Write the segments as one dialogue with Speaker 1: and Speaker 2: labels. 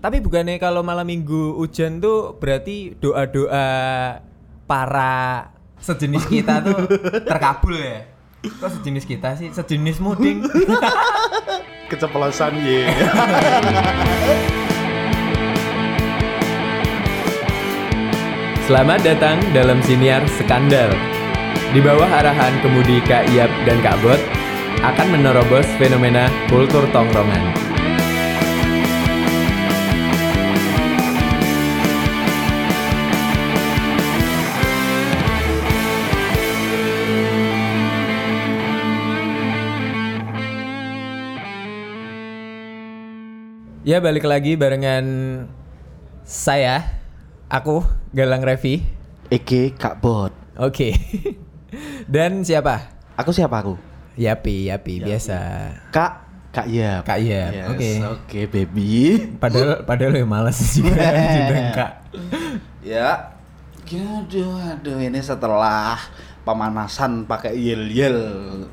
Speaker 1: Tapi bukannya kalau malam minggu hujan tuh berarti doa-doa para sejenis kita tuh terkabul ya? Kok sejenis kita sih? Sejenis muding.
Speaker 2: Keceplosan ye.
Speaker 1: Selamat datang dalam siniar Skandal. Di bawah arahan kemudi Kak Iap dan Kak Bot akan menerobos fenomena kultur tongkrongan. Ya balik lagi barengan saya, aku Galang Revi.
Speaker 2: Ege Kak Bot.
Speaker 1: Oke. Dan siapa?
Speaker 2: Aku siapa aku?
Speaker 1: Yapi, Yapi, biasa.
Speaker 2: Kak Kak Yap.
Speaker 1: Kak Yap,
Speaker 2: Yes,
Speaker 1: oke.
Speaker 2: Oke baby.
Speaker 1: Padahal padahal ya males juga juga Kak.
Speaker 2: Ya. Aduh, aduh ini setelah pemanasan pakai yel yel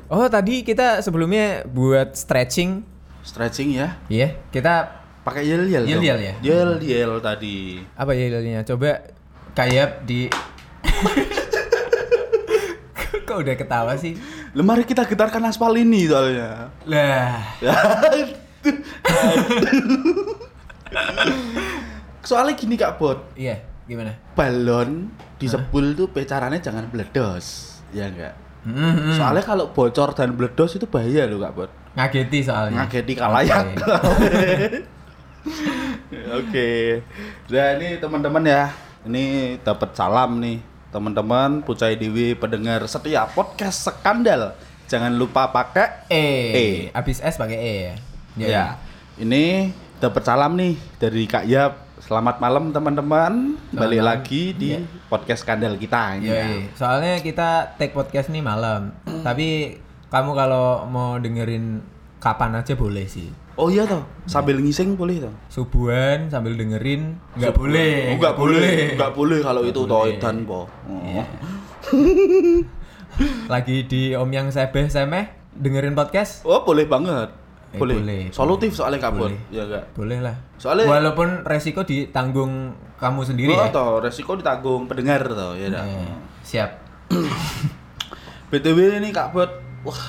Speaker 1: Oh, tadi kita sebelumnya buat stretching,
Speaker 2: stretching ya.
Speaker 1: ya. Kita
Speaker 2: Pakai yel yel.
Speaker 1: Yel-yel ya?
Speaker 2: Yel yel tadi.
Speaker 1: apa ya ilmunya? Coba kayak di Kok udah ketawa sih?
Speaker 2: Lah, mari kita getarkan aspal ini soalnya.
Speaker 1: Lah,
Speaker 2: Soalnya gini Kak Bot,
Speaker 1: iya, gimana?
Speaker 2: balon disebul tuh pecarannya jangan meledos. Ya enggak?
Speaker 1: Mm-mm.
Speaker 2: Soalnya kalau bocor dan meledos itu bahaya loh Kak Bot.
Speaker 1: Ngageti soalnya.
Speaker 2: Ngageti kalayak.
Speaker 1: Hmm. Oke.
Speaker 2: Oke. Nah, ini teman-teman ya. Ini dapat salam nih. Teman-teman Pucai Dewi pendengar setia podcast Skandal. Jangan lupa pakai
Speaker 1: E.
Speaker 2: E.
Speaker 1: Abis S pakai E ya.
Speaker 2: ya. Ini dapat salam nih dari Kak Yap. Selamat malam teman-teman. Balik
Speaker 1: malam.
Speaker 2: lagi di
Speaker 1: Iya.
Speaker 2: podcast Skandal kita ini.
Speaker 1: Iya, iya. Soalnya kita take podcast nih malam. Tapi kamu kalau mau dengerin kapan aja boleh sih.
Speaker 2: Oh iya toh, sambil ngising boleh toh?
Speaker 1: Subuhan sambil dengerin nggak Eh, boleh.
Speaker 2: Oh, nggak boleh. Nggak boleh kalau itu toh
Speaker 1: boleh. Iya.
Speaker 2: edan, po. Oh.
Speaker 1: Lagi di Om yang sebeh semeh dengerin podcast
Speaker 2: Oh boleh banget.
Speaker 1: Eh,
Speaker 2: boleh.
Speaker 1: boleh,
Speaker 2: Solutif soalnya kabur.
Speaker 1: Boleh.
Speaker 2: Ya enggak.
Speaker 1: boleh lah.
Speaker 2: Soalnya-
Speaker 1: walaupun resiko ditanggung kamu sendiri
Speaker 2: Oh,
Speaker 1: ya.
Speaker 2: toh, resiko ditanggung pendengar toh, ya dah.
Speaker 1: Eh, siap.
Speaker 2: BTW ini Kak Bot, wah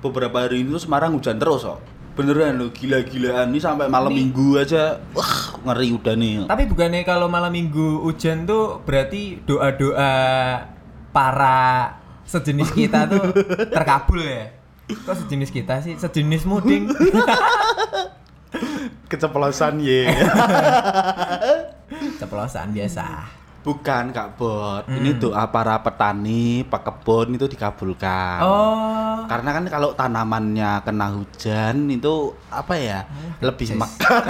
Speaker 2: beberapa hari ini tuh Semarang hujan terus kok. Beneran lo gila-gilaan ini sampai malam minggu aja. Wah, ngeri udah nih.
Speaker 1: Tapi bukannya kalau malam minggu hujan tuh berarti doa-doa para sejenis kita tuh terkabul ya? Kok sejenis kita sih? Sejenis muding.
Speaker 2: Keceplosan ye.
Speaker 1: Ceplosan biasa.
Speaker 2: Bukan Kak Bot, ini
Speaker 1: Hmm.
Speaker 2: doa para petani, pekebun itu dikabulkan.
Speaker 1: Oh.
Speaker 2: Karena kan kalau tanamannya kena hujan itu apa ya?
Speaker 1: Hmm,
Speaker 2: lebih
Speaker 1: Yes.
Speaker 2: mekar.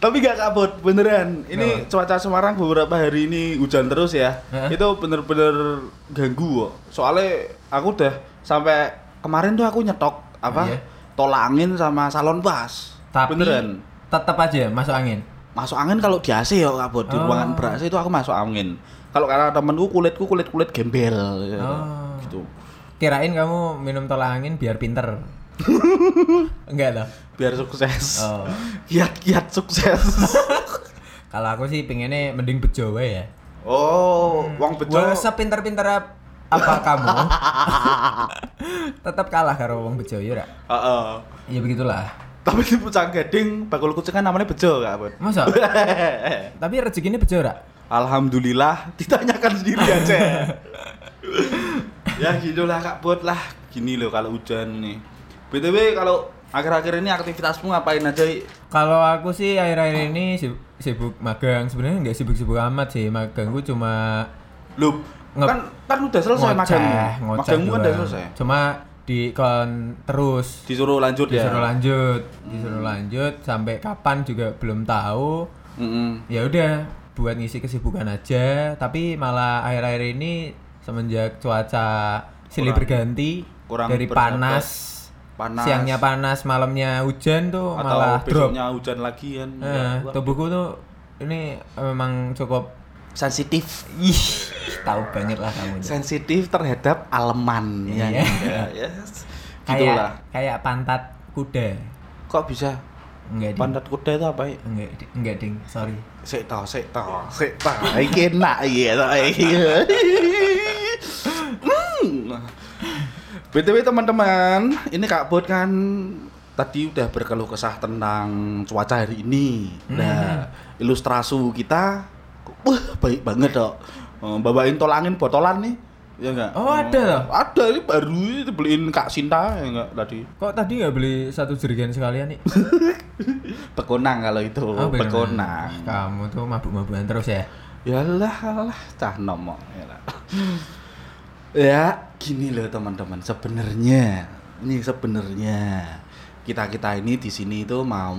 Speaker 2: Tapi gak kabut, beneran. Ini cuaca Semarang beberapa hari ini hujan terus ya.
Speaker 1: Heeh.
Speaker 2: Itu bener-bener ganggu kok. Soalnya aku udah sampai kemarin tuh aku nyetok apa?
Speaker 1: Iya.
Speaker 2: Tolak angin sama salon bas.
Speaker 1: Tapi
Speaker 2: beneran.
Speaker 1: tetap aja masuk angin.
Speaker 2: Masuk angin kalau di AC ya kabut di
Speaker 1: Oh.
Speaker 2: ruangan ber AC itu aku masuk angin. Kalau karena temenku kulitku kulit-kulit gembel ya.
Speaker 1: Oh.
Speaker 2: gitu.
Speaker 1: Kirain kamu minum tolak angin biar pinter. Enggak loh.
Speaker 2: Biar sukses.
Speaker 1: Oh.
Speaker 2: Kiat-kiat sukses.
Speaker 1: Kalau aku sih pengennya mending bejawa ya.
Speaker 2: oh, wong bejo.
Speaker 1: Wah, sepinter-pinter ap- apa kamu? tetap kalah karo wong bejawa ya. Ra?
Speaker 2: Heeh.
Speaker 1: Ya begitulah.
Speaker 2: Tapi di Pucang Gading bakul kucing kan namanya bejo Kak Bud.
Speaker 1: Masa? Tapi rezekinya bejo ra?
Speaker 2: Alhamdulillah ditanyakan sendiri aja. ya gitulah Kak Bud lah. Gini loh kalau hujan nih. BTW kalau akhir-akhir ini aktivitasmu ngapain aja? I?
Speaker 1: Kalau aku sih akhir-akhir ini sib- sibuk magang. Sebenarnya nggak sibuk-sibuk amat sih. Magang gue cuma
Speaker 2: Lu
Speaker 1: Nge-
Speaker 2: kan kan udah selesai magangmu.
Speaker 1: ngoceh
Speaker 2: Magangmu kan udah
Speaker 1: doang.
Speaker 2: selesai.
Speaker 1: Cuma di kon terus
Speaker 2: Disuruh lanjut ya.
Speaker 1: disuruh lanjut, disuruh lanjut sampai kapan juga belum tahu.
Speaker 2: Mm-mm.
Speaker 1: Ya udah buat ngisi kesibukan aja, tapi malah akhir-akhir ini semenjak cuaca silih
Speaker 2: Kurang-
Speaker 1: berganti
Speaker 2: kurang
Speaker 1: dari
Speaker 2: bersahabat.
Speaker 1: panas,
Speaker 2: Panas.
Speaker 1: siangnya panas, malamnya hujan tuh
Speaker 2: Atau
Speaker 1: Oh, malah drop.
Speaker 2: besoknya hujan lagi kan.
Speaker 1: Eh,
Speaker 2: Ya, wah.
Speaker 1: tubuhku tuh ini memang cukup
Speaker 2: sensitif
Speaker 1: ih tahu banget lah kamu.
Speaker 2: sensitif terhadap aleman ya,
Speaker 1: Iya.
Speaker 2: ya, yes. gitu lah.
Speaker 1: kayak kayak pantat kuda
Speaker 2: Kok bisa?
Speaker 1: enggak ding
Speaker 2: Pantat kuda itu apa ya?
Speaker 1: enggak Ding. enggak ding sorry
Speaker 2: Sik tau, sik tau, sik tau. Iki enak iya tau. Hmm. BTW teman-teman, ini Kak Bot kan tadi udah berkeluh kesah tentang cuaca hari ini.
Speaker 1: Hmm.
Speaker 2: Nah, ilustrasi kita wah baik banget dok. Eh, Bawain tolangin botolan nih. Ya enggak?
Speaker 1: Oh, ada loh?
Speaker 2: Ada ini baru ini dibeliin Kak Sinta ya enggak tadi.
Speaker 1: kok tadi nggak beli satu jerigen sekalian nih
Speaker 2: Pekonang kalau itu,
Speaker 1: Oh, bener.
Speaker 2: pekonang.
Speaker 1: kamu tuh mabuk-mabukan terus ya
Speaker 2: Yalah, alah, cah nomor. yalah. Ya, gini loh teman-teman. Sebenarnya, ini sebenarnya kita kita ini di sini itu mau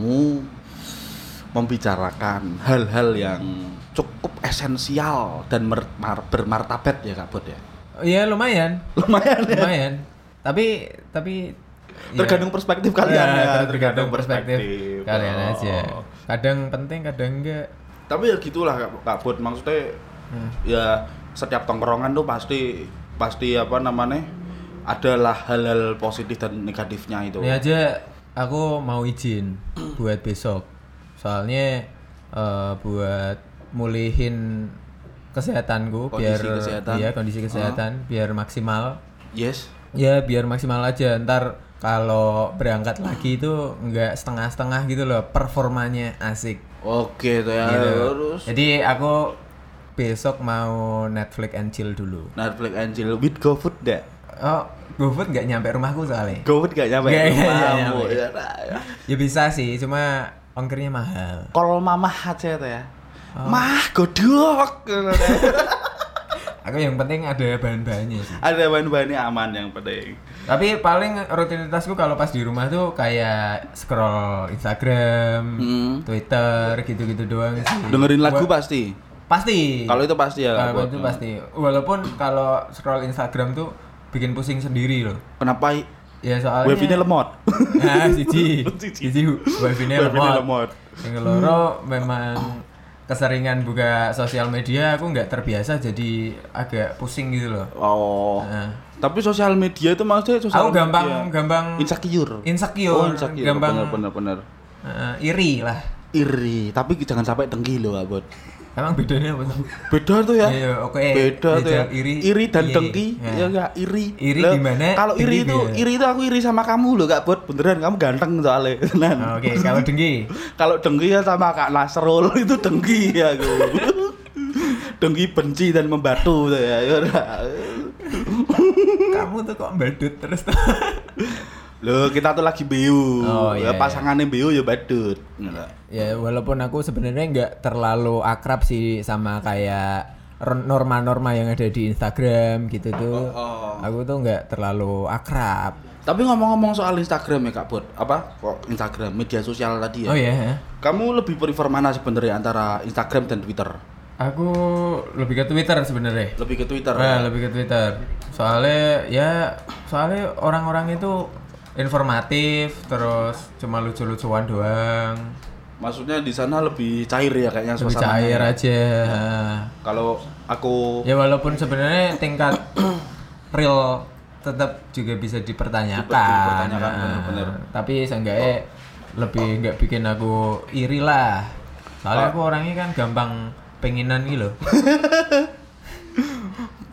Speaker 2: membicarakan hal-hal yang cukup esensial dan mer- mar- bermartabat ya Kak Bud ya.
Speaker 1: Oh, iya lumayan
Speaker 2: Lumayan ya.
Speaker 1: lumayan tapi tapi ya.
Speaker 2: Tergantung perspektif kalian
Speaker 1: Ya,
Speaker 2: ya.
Speaker 1: tergantung perspektif, kalian
Speaker 2: Oh.
Speaker 1: aja kadang penting kadang enggak
Speaker 2: Tapi ya gitulah Kak- Kak Bud. Maksudnya
Speaker 1: Hmm.
Speaker 2: ya setiap tongkrongan tuh pasti pasti apa namanya adalah hal-hal positif dan negatifnya itu
Speaker 1: ini Ya, aja aku mau izin buat besok soalnya eh, buat mulihin kesehatanku
Speaker 2: Kondisi
Speaker 1: biar
Speaker 2: kesehatan.
Speaker 1: iya, kondisi kesehatan biar maksimal
Speaker 2: yes
Speaker 1: ya biar maksimal aja ntar kalau berangkat lagi itu enggak setengah-setengah gitu loh performanya asik
Speaker 2: oke tuh ya
Speaker 1: gitu.
Speaker 2: terus
Speaker 1: Jadi aku besok mau Netflix and chill dulu.
Speaker 2: Netflix and chill with GoFood deh
Speaker 1: Oh, GoFood nggak nyampe rumahku soalnya.
Speaker 2: GoFood gak nyampe
Speaker 1: Nggak, nggak
Speaker 2: rumahmu.
Speaker 1: Iya, nyampe.
Speaker 2: Ya, nah, ya.
Speaker 1: Ya bisa sih, cuma ongkirnya mahal.
Speaker 2: call mama aja tuh ya
Speaker 1: Oh.
Speaker 2: mah godok
Speaker 1: Aku yang penting ada bahan-bahannya sih.
Speaker 2: ada bahan-bahannya aman yang penting
Speaker 1: Tapi paling rutinitasku kalau pas di rumah tuh kayak scroll Instagram,
Speaker 2: Hmm.
Speaker 1: Twitter, gitu-gitu doang sih.
Speaker 2: dengerin lagu
Speaker 1: Wa-
Speaker 2: pasti
Speaker 1: Pasti.
Speaker 2: kalau itu pasti
Speaker 1: Iya.
Speaker 2: ya
Speaker 1: Kalau
Speaker 2: Bud.
Speaker 1: Nah, itu pasti. Walaupun kalau scroll Instagram tuh bikin pusing sendiri loh.
Speaker 2: kenapa i-
Speaker 1: Ya soalnya
Speaker 2: wifi-nya lemot
Speaker 1: Nah, siji.
Speaker 2: Siji.
Speaker 1: Siji webinnya
Speaker 2: wifi-nya
Speaker 1: lemot.
Speaker 2: lemot
Speaker 1: Yang loro memang keseringan buka sosial media aku nggak terbiasa jadi agak pusing gitu loh.
Speaker 2: oh
Speaker 1: Nah,
Speaker 2: Tapi sosial media itu maksudnya
Speaker 1: aku
Speaker 2: sosial
Speaker 1: gampang
Speaker 2: media.
Speaker 1: gampang
Speaker 2: Iya. insecure.
Speaker 1: insecure,
Speaker 2: Oh, insecure.
Speaker 1: gampang
Speaker 2: Bener, bener, bener.
Speaker 1: eh, iri lah.
Speaker 2: Iri, tapi jangan sampai dengki loh, Abot.
Speaker 1: Emang bedanya apa? sih?
Speaker 2: Beda tuh ya.
Speaker 1: Iya, oke.
Speaker 2: Beda tuh ya.
Speaker 1: Beda, iri,
Speaker 2: dan
Speaker 1: iri.
Speaker 2: dengki.
Speaker 1: Nah.
Speaker 2: Ya enggak, iri.
Speaker 1: Iri
Speaker 2: Loh,
Speaker 1: gimana?
Speaker 2: Kalau iri
Speaker 1: Dengki
Speaker 2: itu,
Speaker 1: gimana?
Speaker 2: iri itu aku iri sama kamu loh, Kak Bot. Beneran kamu ganteng soalnya. Tenan.
Speaker 1: Oh, Oke, kalau dengki.
Speaker 2: Kalau dengki ya sama Kak Nasrul itu dengki ya aku. dengki benci dan membatu tuh ya. Ya udah.
Speaker 1: Kamu tuh kok badut terus tuh.
Speaker 2: Loh, kita tuh lagi biu.
Speaker 1: Oh, iya,
Speaker 2: Ya, pasangannya biu ya badut. Nggak.
Speaker 1: ya walaupun aku sebenarnya nggak terlalu akrab sih sama kayak ren- norma-norma yang ada di Instagram gitu tuh.
Speaker 2: oh.
Speaker 1: Aku tuh nggak terlalu akrab.
Speaker 2: Tapi ngomong-ngomong soal Instagram ya Kak Bud, apa kok Instagram media sosial tadi ya?
Speaker 1: Oh ya,
Speaker 2: Kamu lebih prefer mana sebenarnya antara Instagram dan Twitter?
Speaker 1: aku lebih ke Twitter sebenarnya.
Speaker 2: Lebih ke Twitter.
Speaker 1: Nah,
Speaker 2: ya?
Speaker 1: lebih ke Twitter. Soalnya ya soalnya orang-orang itu informatif terus cuma lucu-lucuan doang.
Speaker 2: Maksudnya di sana lebih cair ya Iya. kayaknya
Speaker 1: Lebih
Speaker 2: suasananya.
Speaker 1: cair aja.
Speaker 2: Kalau aku
Speaker 1: Ya walaupun sebenarnya tingkat real tetap juga bisa dipertanyakan.
Speaker 2: Dipertanyakan,
Speaker 1: Nah,
Speaker 2: bener-bener.
Speaker 1: Tapi seenggaknya lebih nggak bikin aku iri lah. Soalnya aku orangnya kan gampang penginan gitu loh.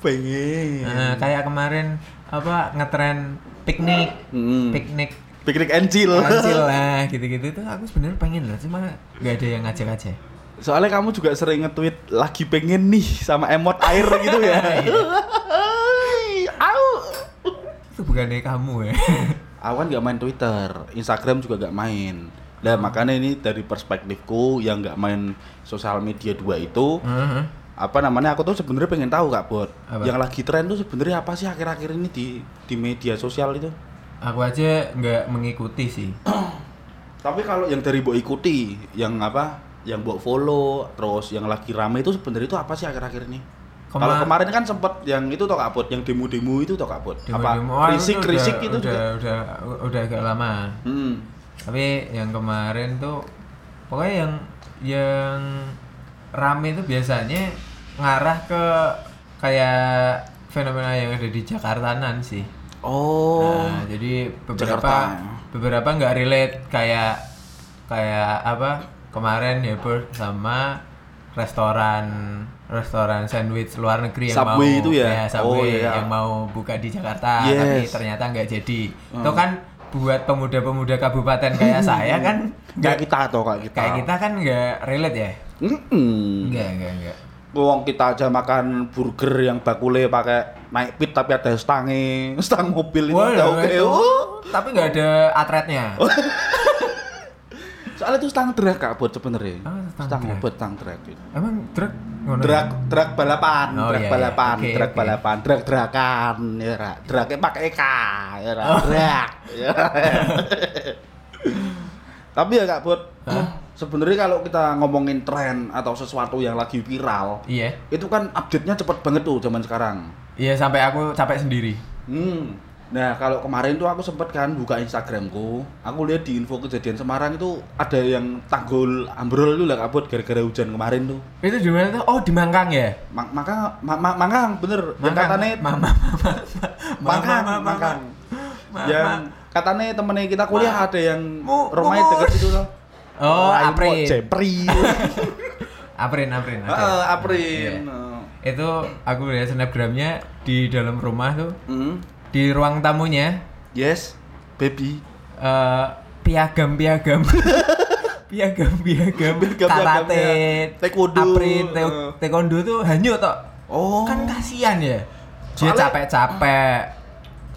Speaker 2: pengen
Speaker 1: Nah, kayak kemarin apa ngetren piknik,
Speaker 2: Hmm.
Speaker 1: piknik
Speaker 2: piknik encil.
Speaker 1: kecil lah gitu-gitu tuh aku sebenarnya pengen lah cuma nggak ada yang ngajak aja.
Speaker 2: Soalnya kamu juga sering nge-tweet lagi pengen nih sama emot air gitu ya. Au.
Speaker 1: Itu bukannya kamu ya.
Speaker 2: Awan kan nggak main Twitter, Instagram juga nggak main. Nah makanya ini dari perspektifku yang nggak main sosial media dua itu,
Speaker 1: Heeh.
Speaker 2: apa namanya aku tuh sebenarnya pengen tahu kak Bot,
Speaker 1: Apa?
Speaker 2: yang lagi tren tuh sebenarnya apa sih akhir-akhir ini di di media sosial itu?
Speaker 1: Aku aja nggak mengikuti sih.
Speaker 2: Tapi kalau yang dari Mbok ikuti, yang apa, yang Mbok follow, terus yang lagi rame itu sebenarnya itu apa sih akhir-akhir ini? Kalau
Speaker 1: Kemar-
Speaker 2: kemarin kan sempet yang itu toh kak Bot, yang demo-demo itu toh kak Bot, apa
Speaker 1: Demo-demo. Wah,
Speaker 2: risik
Speaker 1: udah-
Speaker 2: risik itu
Speaker 1: udah,
Speaker 2: juga?
Speaker 1: udah udah agak lama.
Speaker 2: Hmm.
Speaker 1: Tapi yang kemarin tuh pokoknya yang yang rame itu biasanya ngarah ke kayak fenomena yang ada di Jakartanan sih.
Speaker 2: Oh.
Speaker 1: Nah, jadi beberapa
Speaker 2: Jakarta. ya.
Speaker 1: beberapa nggak relate kayak kayak apa kemarin Hepburn sama restoran restoran sandwich luar negeri yang
Speaker 2: Subway
Speaker 1: mau
Speaker 2: itu ya?
Speaker 1: Subway
Speaker 2: Oh, iya.
Speaker 1: yang mau buka di Jakarta
Speaker 2: Yes. Hmm.
Speaker 1: tapi ternyata nggak jadi. Itu kan buat pemuda-pemuda kabupaten kayak saya kan
Speaker 2: Kayak
Speaker 1: nggak
Speaker 2: kita atau kayak Hmm. kita. Hmm.
Speaker 1: kayak kita kan nggak relate ya.
Speaker 2: Mm-mm.
Speaker 1: Nggak nggak nggak.
Speaker 2: Wong kita aja makan burger yang bakule pakai naik pit tapi ada stange, stang mobil itu
Speaker 1: Wah, ya,
Speaker 2: udah oke.
Speaker 1: itu,
Speaker 2: Oh.
Speaker 1: tapi nggak ada atletnya.
Speaker 2: Soalnya itu stang drag kak buat sebenernya.
Speaker 1: Ah, stang
Speaker 2: stang
Speaker 1: drag.
Speaker 2: buat stang drag itu.
Speaker 1: Emang truk ngono ya?
Speaker 2: Drag, drag balapan,
Speaker 1: Oh,
Speaker 2: drag
Speaker 1: iya, iya.
Speaker 2: balapan,
Speaker 1: Oke,
Speaker 2: drag
Speaker 1: oke.
Speaker 2: balapan, drag drakan, ya Ra. Dragnya pakai K, ya Ra.
Speaker 1: Oh.
Speaker 2: Drag. ya Ra. Tapi ya kak buat sebenarnya kalau kita ngomongin tren atau sesuatu yang lagi viral,
Speaker 1: Iya.
Speaker 2: itu kan update-nya cepet banget tuh zaman sekarang.
Speaker 1: Iya sampai aku capek sendiri.
Speaker 2: Hmm. Nah, kalau kemarin tuh aku sempet kan buka Instagramku, aku lihat di info kejadian Semarang itu ada yang tanggul ambrol itu lah kabut gara-gara hujan kemarin tuh.
Speaker 1: Itu di mana tuh? Oh, di Mangkang ya?
Speaker 2: Ma- maka ma- ma- mangkang bener yang katanya
Speaker 1: mama mama
Speaker 2: mangkang, mangkang. Yang katanya temennya kita kuliah
Speaker 1: Ma-
Speaker 2: ada yang
Speaker 1: Mu-
Speaker 2: rumahnya
Speaker 1: mumur.
Speaker 2: deket situ loh.
Speaker 1: Oh,
Speaker 2: Lain kok,
Speaker 1: Aprin.
Speaker 2: Jepri.
Speaker 1: Aprin, Aprin. oke.
Speaker 2: Heeh,
Speaker 1: Iya.
Speaker 2: Aprin.
Speaker 1: Itu aku lihat snapgramnya di dalam rumah tuh,
Speaker 2: Hmm.
Speaker 1: di ruang tamunya
Speaker 2: Yes, baby.
Speaker 1: eh piagam-piagam. piagam-piagam
Speaker 2: Piagam-piagamnya.
Speaker 1: karate,
Speaker 2: Taekwondo.
Speaker 1: Aprin, te-
Speaker 2: Eh.
Speaker 1: taekwondo tuh hanyut toh.
Speaker 2: Oh.
Speaker 1: kan kasihan ya dia
Speaker 2: Soalnya-
Speaker 1: capek-capek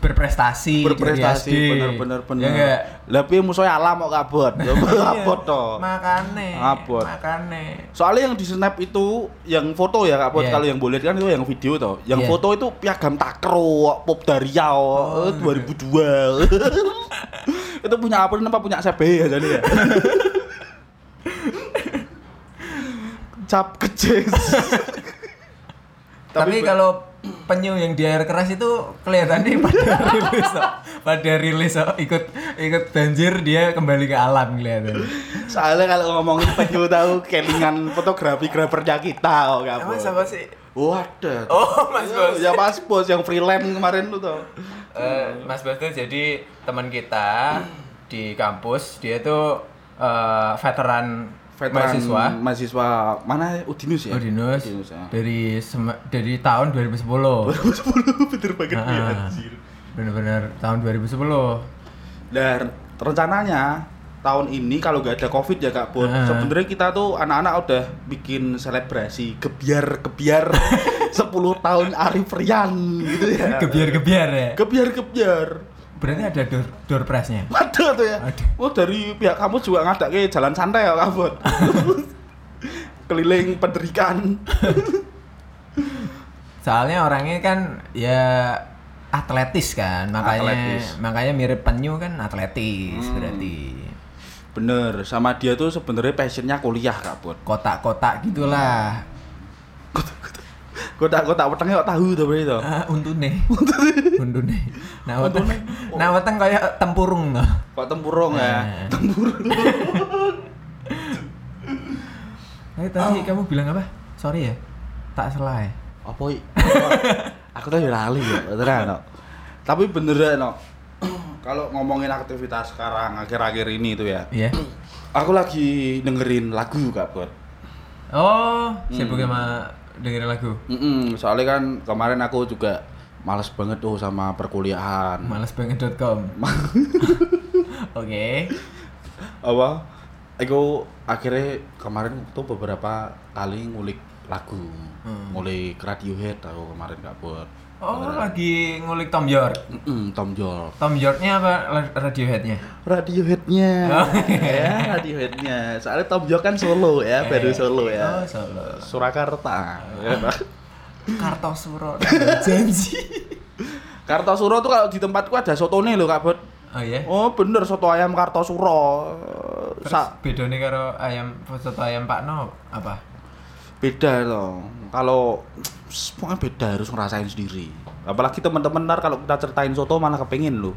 Speaker 1: berprestasi
Speaker 2: berprestasi
Speaker 1: dari SD.
Speaker 2: bener-bener bener.
Speaker 1: Iya, ya Iya. enggak
Speaker 2: Tapi musuhnya ya alam kok kabut. Kabut toh.
Speaker 1: makane
Speaker 2: Abot.
Speaker 1: makane
Speaker 2: Soalnya yang di snap itu yang foto ya Kak Pot,
Speaker 1: Iya.
Speaker 2: kalau yang boleh kan itu yang video toh. Yang
Speaker 1: Iya.
Speaker 2: foto itu piagam takro Pop dari Riau
Speaker 1: Oh.
Speaker 2: eh, 2002. itu punya apa apa punya CB ya jadi ya. Cap kecil.
Speaker 1: tapi, kalau penyu yang di air keras itu kelihatannya pada rilis kok. pada rilis kok. ikut ikut banjir dia kembali ke alam kelihatan
Speaker 2: soalnya kalau ngomongin penyu tahu kelingan fotografi grafernya kita kok Kak
Speaker 1: emang
Speaker 2: Pot.
Speaker 1: siapa sih
Speaker 2: Waduh.
Speaker 1: Oh, Mas Bos.
Speaker 2: Ya Mas Bos yang freelance kemarin tuh toh.
Speaker 1: Eh, Mas Bas tuh jadi teman kita di kampus dia tuh eh, veteran,
Speaker 2: Veteran
Speaker 1: mahasiswa
Speaker 2: mahasiswa mana Udinus ya?
Speaker 1: Oh, Dinos.
Speaker 2: ya.
Speaker 1: Dari sem- dari tahun 2010.
Speaker 2: 2010 bener banget
Speaker 1: Ah.
Speaker 2: ya anjir.
Speaker 1: Bener-bener tahun 2010.
Speaker 2: Dan rencananya tahun ini kalau nggak ada covid ya kak Bon
Speaker 1: Ah.
Speaker 2: sebenarnya kita tuh anak-anak udah bikin selebrasi kebiar kebiar 10 tahun Arif Rian gitu ya
Speaker 1: Kebiar-kebiar ya.
Speaker 2: kebiar kebiar
Speaker 1: Berarti ada door door prize-nya.
Speaker 2: Waduh tuh ya.
Speaker 1: Waduh.
Speaker 2: Oh dari pihak kamu juga ngadak ke jalan santai ya kabut. Keliling penderikan.
Speaker 1: Soalnya orangnya kan ya atletis kan, makanya
Speaker 2: Atletis. Hmm.
Speaker 1: makanya mirip penyu kan atletis berarti.
Speaker 2: Bener, sama dia tuh sebenarnya passionnya kuliah kabut.
Speaker 1: Kotak-kotak gitulah.
Speaker 2: Kotak-kotak wetenge kok tahu tuh berarti tuh.
Speaker 1: Ah, untune. untune. Nah, weteng.
Speaker 2: Untune.
Speaker 1: Nah, weteng kayak tempurung tuh.
Speaker 2: Kok tempurung ya.
Speaker 1: Nah.
Speaker 2: Tempurung.
Speaker 1: Eh,
Speaker 2: Oh.
Speaker 1: tadi kamu bilang apa? Sorry ya. Tak salah ya.
Speaker 2: Apa i? Aku tuh lali ya, beneran no. Tapi beneran no. Kalau ngomongin aktivitas sekarang akhir-akhir ini tuh ya.
Speaker 1: Iya.
Speaker 2: Aku lagi dengerin lagu kabut.
Speaker 1: Oh, sibuk
Speaker 2: Hmm.
Speaker 1: sama dengerin lagu.
Speaker 2: Mm-mm, soalnya kan kemarin aku juga males banget tuh sama perkuliahan.
Speaker 1: Malasbanget.com. Oke.
Speaker 2: Apa? Aku akhirnya kemarin tuh beberapa kali ngulik lagu, ngulik Radiohead aku kemarin gak buat.
Speaker 1: Oh, lagi ngulik Tom York.
Speaker 2: Mm-mm, Tom York.
Speaker 1: Tom Yorknya apa La- Radiohead-nya?
Speaker 2: Radioheadnya,
Speaker 1: Oh.
Speaker 2: ya Radioheadnya. Soalnya Tom York kan solo ya, baru solo
Speaker 1: Oh,
Speaker 2: ya.
Speaker 1: solo.
Speaker 2: Surakarta.
Speaker 1: Kartosuro janji.
Speaker 2: Kartosuro tuh kalau di tempatku ada sotone loh kak Bud.
Speaker 1: Oh iya.
Speaker 2: Oh bener soto ayam Kartosuro. Sa-
Speaker 1: Terus bedone karo ayam foto ayam Pak No apa?
Speaker 2: beda loh kalau semuanya beda harus ngerasain sendiri apalagi teman-teman ntar kalau kita ceritain soto malah kepengin lo